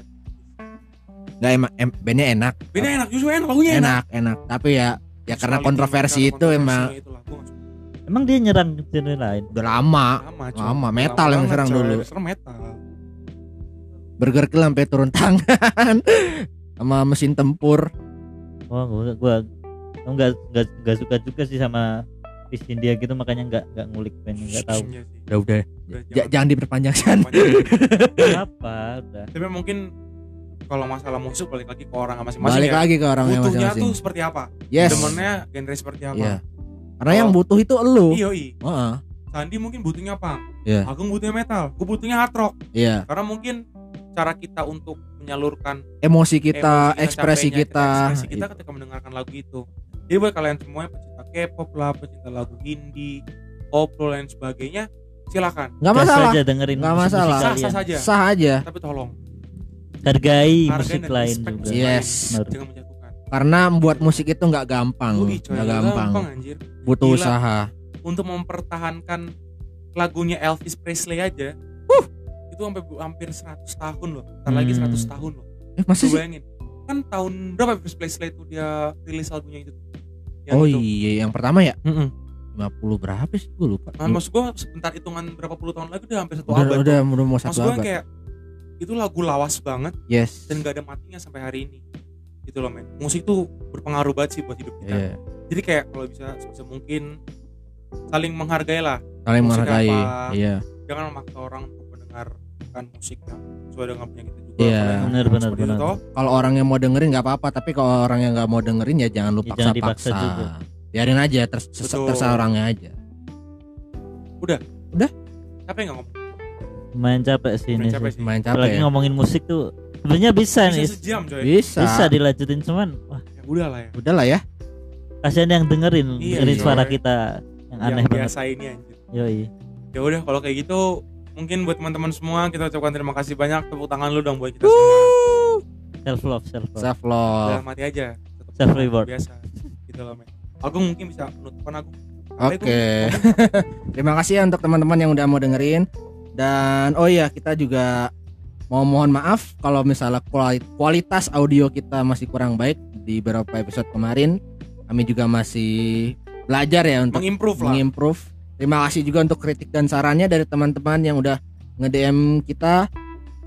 Nggak emang em, bandnya enak.
bandnya Iya, enak justru enak lagunya enak,
enak, enak. Tapi ya ya karena ya kontroversi itu emang
itulah, gua nggak suka.
Emang dia nyerang genre lain?
udah lama
Lama,
Lama, metal yang
banget,
serang
coy.
dulu.
Serang metal.
Burger Kill sampai turun tangan sama mesin tempur
Wah, Oh, gua gua gua nggak nggak nggak suka juga sih sama Fish India gitu makanya nggak nggak ngulik band nggak tahu
Iya sih.
udah udah
Udah,
Ja- jangan diperpanjang San.
panjang.
apa udah
Tapi mungkin kalau masalah musik balik lagi ke orang masing-masing
balik
ya.
lagi ke orang yang
Butuhnya
masing-masing
tuh seperti apa?
yes
Demennya genre seperti apa?
Iya. karena yang butuh itu elu
Oh. Iya, iya.
Heeh.
Sandi mungkin butuhnya punk.
Iya.
Agung butuhnya metal. Gue butuhnya hard rock.
iya
Karena mungkin cara kita untuk menyalurkan
emosi kita
emosi
ekspresi
capeknya,
kita, Iya.
ekspresi kita ketika mendengarkan lagu itu. Jadi buat kalian semua yang pecinta K-pop lah, pecinta lagu indie, koplo dan sebagainya, silakan.
nggak
Gas
masalah
aja dengerin
Nggak
musik-musik
masalah.
Sah
kalian.
sah saja.
sah aja
Tapi tolong
hargai
hargain
musik
dan
lain
respect
juga
musik
Yes.
lain.
Benar.
Jangan menjatuhkan.
karena membuat musik itu nggak gampang
Ui, coy,
nggak gampang
anjir.
butuh
Gila.
usaha
Untuk mempertahankan lagunya Elvis Presley aja. Itu sampai hampir 100 tahun loh. Ntar lagi
Hmm.
100 tahun loh.
eh masa
Lu
sih
bayangin. Kan tahun berapa Elvis Presley itu dia rilis lagunya itu? Yang
oh
itu.
iya yang pertama ya
Mm-mm.
50 berapa sih gue lupa
Nah, maksud gua sebentar hitungan berapa puluh tahun lagi udah hampir satu
udah
abad.
udah, udah mau
maksud
satu
gua
abad
kayak itu lagu lawas banget
yes
dan gak ada matinya sampai hari ini. Gitu loh men. Musik tuh berpengaruh banget sih buat hidup kita.
Iya.
Jadi kayak kalau bisa sebisa mungkin saling menghargai lah.
saling
Musik
menghargai
apa?
iya
Jangan memaksa orang untuk mendengarkan musik yang sesuai dengan punya kita juga.
Iya.
Kalau yang
Bener, bener,
seperti itu,
bener.
toh,
kalau orang yang mau dengerin nggak apa-apa tapi kalau orang yang nggak mau dengerin ya jangan lu
Ya,
paksa
jangan dipaksa
paksa
juga.
biarin aja ters ses-
Betul.
terserah orangnya aja
Capek nggak ngomong?
main capek sih ini
Udah capek
sih.
sih.
main
Apalagi
capek ya.
ngomongin musik tuh sebenarnya bisa,
Bisa
nih
sejam coy.
bisa,
bisa dilanjutin cuman wah
Ya, udah lah ya.
udah lah ya
kasihan yang dengerin
Iya,
dengerin
iya.
suara kita yang aneh
yang
banget
biasa ini anjir.
yoi
ya udah kalau kayak gitu mungkin buat teman-teman semua kita ucapkan terima kasih banyak tepuk tangan lu dong buat kita semua
self love self love
self love
udah mati aja Tetep
Self reward.
biasa gitu loh men aku mungkin bisa menutupkan aku
Oke. Terima kasih ya untuk teman-teman yang udah mau dengerin. Dan oh iya, kita juga mau mohon maaf kalau misalnya kuali- kualitas audio kita masih kurang baik di beberapa episode kemarin. Kami juga masih belajar ya untuk
mengimprove lah
mengimprove. Terima kasih juga untuk kritik dan sarannya dari teman-teman yang udah nge-DM kita.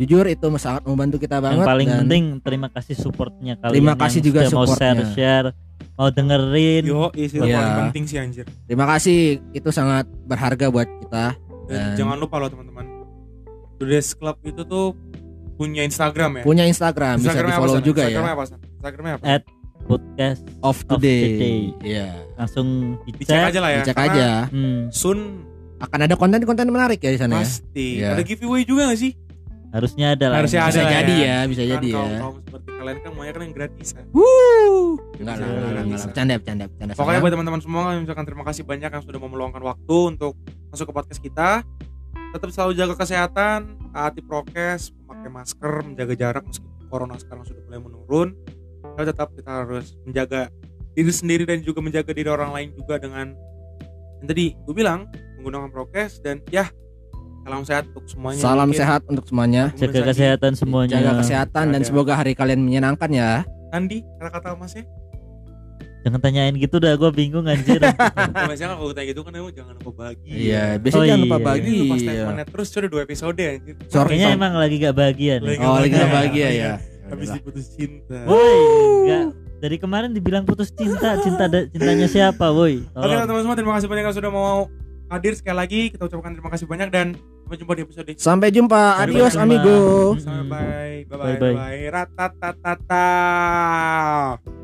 Jujur itu sangat membantu kita
yang
banget
paling
dan
penting terima kasih supportnya kalian
Terima
yang
kasih juga
sudah mau
supportnya.
share share mau dengerin
yo isi
Iya.
paling penting sih anjir
terima kasih itu sangat berharga buat kita.
dan
Dan-
jangan lupa loh teman-teman Today's Club itu tuh punya Instagram ya
Punya Instagram, Nah, bisa
Instagramnya apa,
di-follow
San?
juga
Instagramnya
ya.
apa San? Instagramnya apa
Eh, podcast
Of
Of
today.
today.
Iya.
langsung
dicek
dicek
aja lah ya
Dicek
karena
aja.
hmm,
soon
Akan ada konten-konten menarik ya di sana ya.
pasti
Iya.
ada giveaway juga gak sih
harusnya ada lah
Harusnya
yang-
ada
Bisa
lah
jadi
ya.
ya, bisa jadi ya.
kalau kaum seperti kalian kan maunya kan yang gratis ya
Wuh. Enggak lah,
Bisa,
enggak lah, enggak
bisa.
lah. Bercanda, bercanda, bercanda.
Pokoknya
sayang.
buat teman-teman semua kami ucapkan terima kasih banyak yang sudah mau meluangkan waktu untuk masuk ke podcast kita. Tetap selalu jaga kesehatan, taati prokes, memakai masker, menjaga jarak meskipun corona sekarang sudah mulai menurun. Tapi tetap kita harus menjaga diri sendiri dan juga menjaga diri orang lain juga dengan yang tadi gue bilang menggunakan prokes dan ya salam sehat untuk semuanya.
Salam
Mungkin
sehat untuk semuanya.
Bung
jaga
Sandi-
kesehatan semuanya
Jaga kesehatan dan
Ada.
semoga hari kalian menyenangkan ya.
Sandi, kata-kata ya? masnya.
jangan tanyain gitu dah gua bingung anjir
Biasanya kalau kayak gitu kan emang jangan lupa bagi.
Iya,
Oh
biasanya jangan lupa
Ini
iya.
bagi.
lupa
Iya.
statementnya terus sudah dua episode ya, anjir.
Sorry,
kayaknya
Sam.
emang lagi gak bahagia nih
Lagi-
Oh, lagi
Iya.
nggak bahagia
Iya.
ya.
Habis diputus cinta.
woi enggak dari kemarin dibilang putus cinta cinta da- cintanya siapa woi
Oke
Tolong.
teman-teman semua terima kasih banyak yang sudah mau hadir sekali lagi kita ucapkan terima kasih banyak dan sampai jumpa di episode
Sampai jumpa.
Sampai
Adios
jumpa.
amigo.
sampai bye bye bye
Bye-bye.
bye ratatatata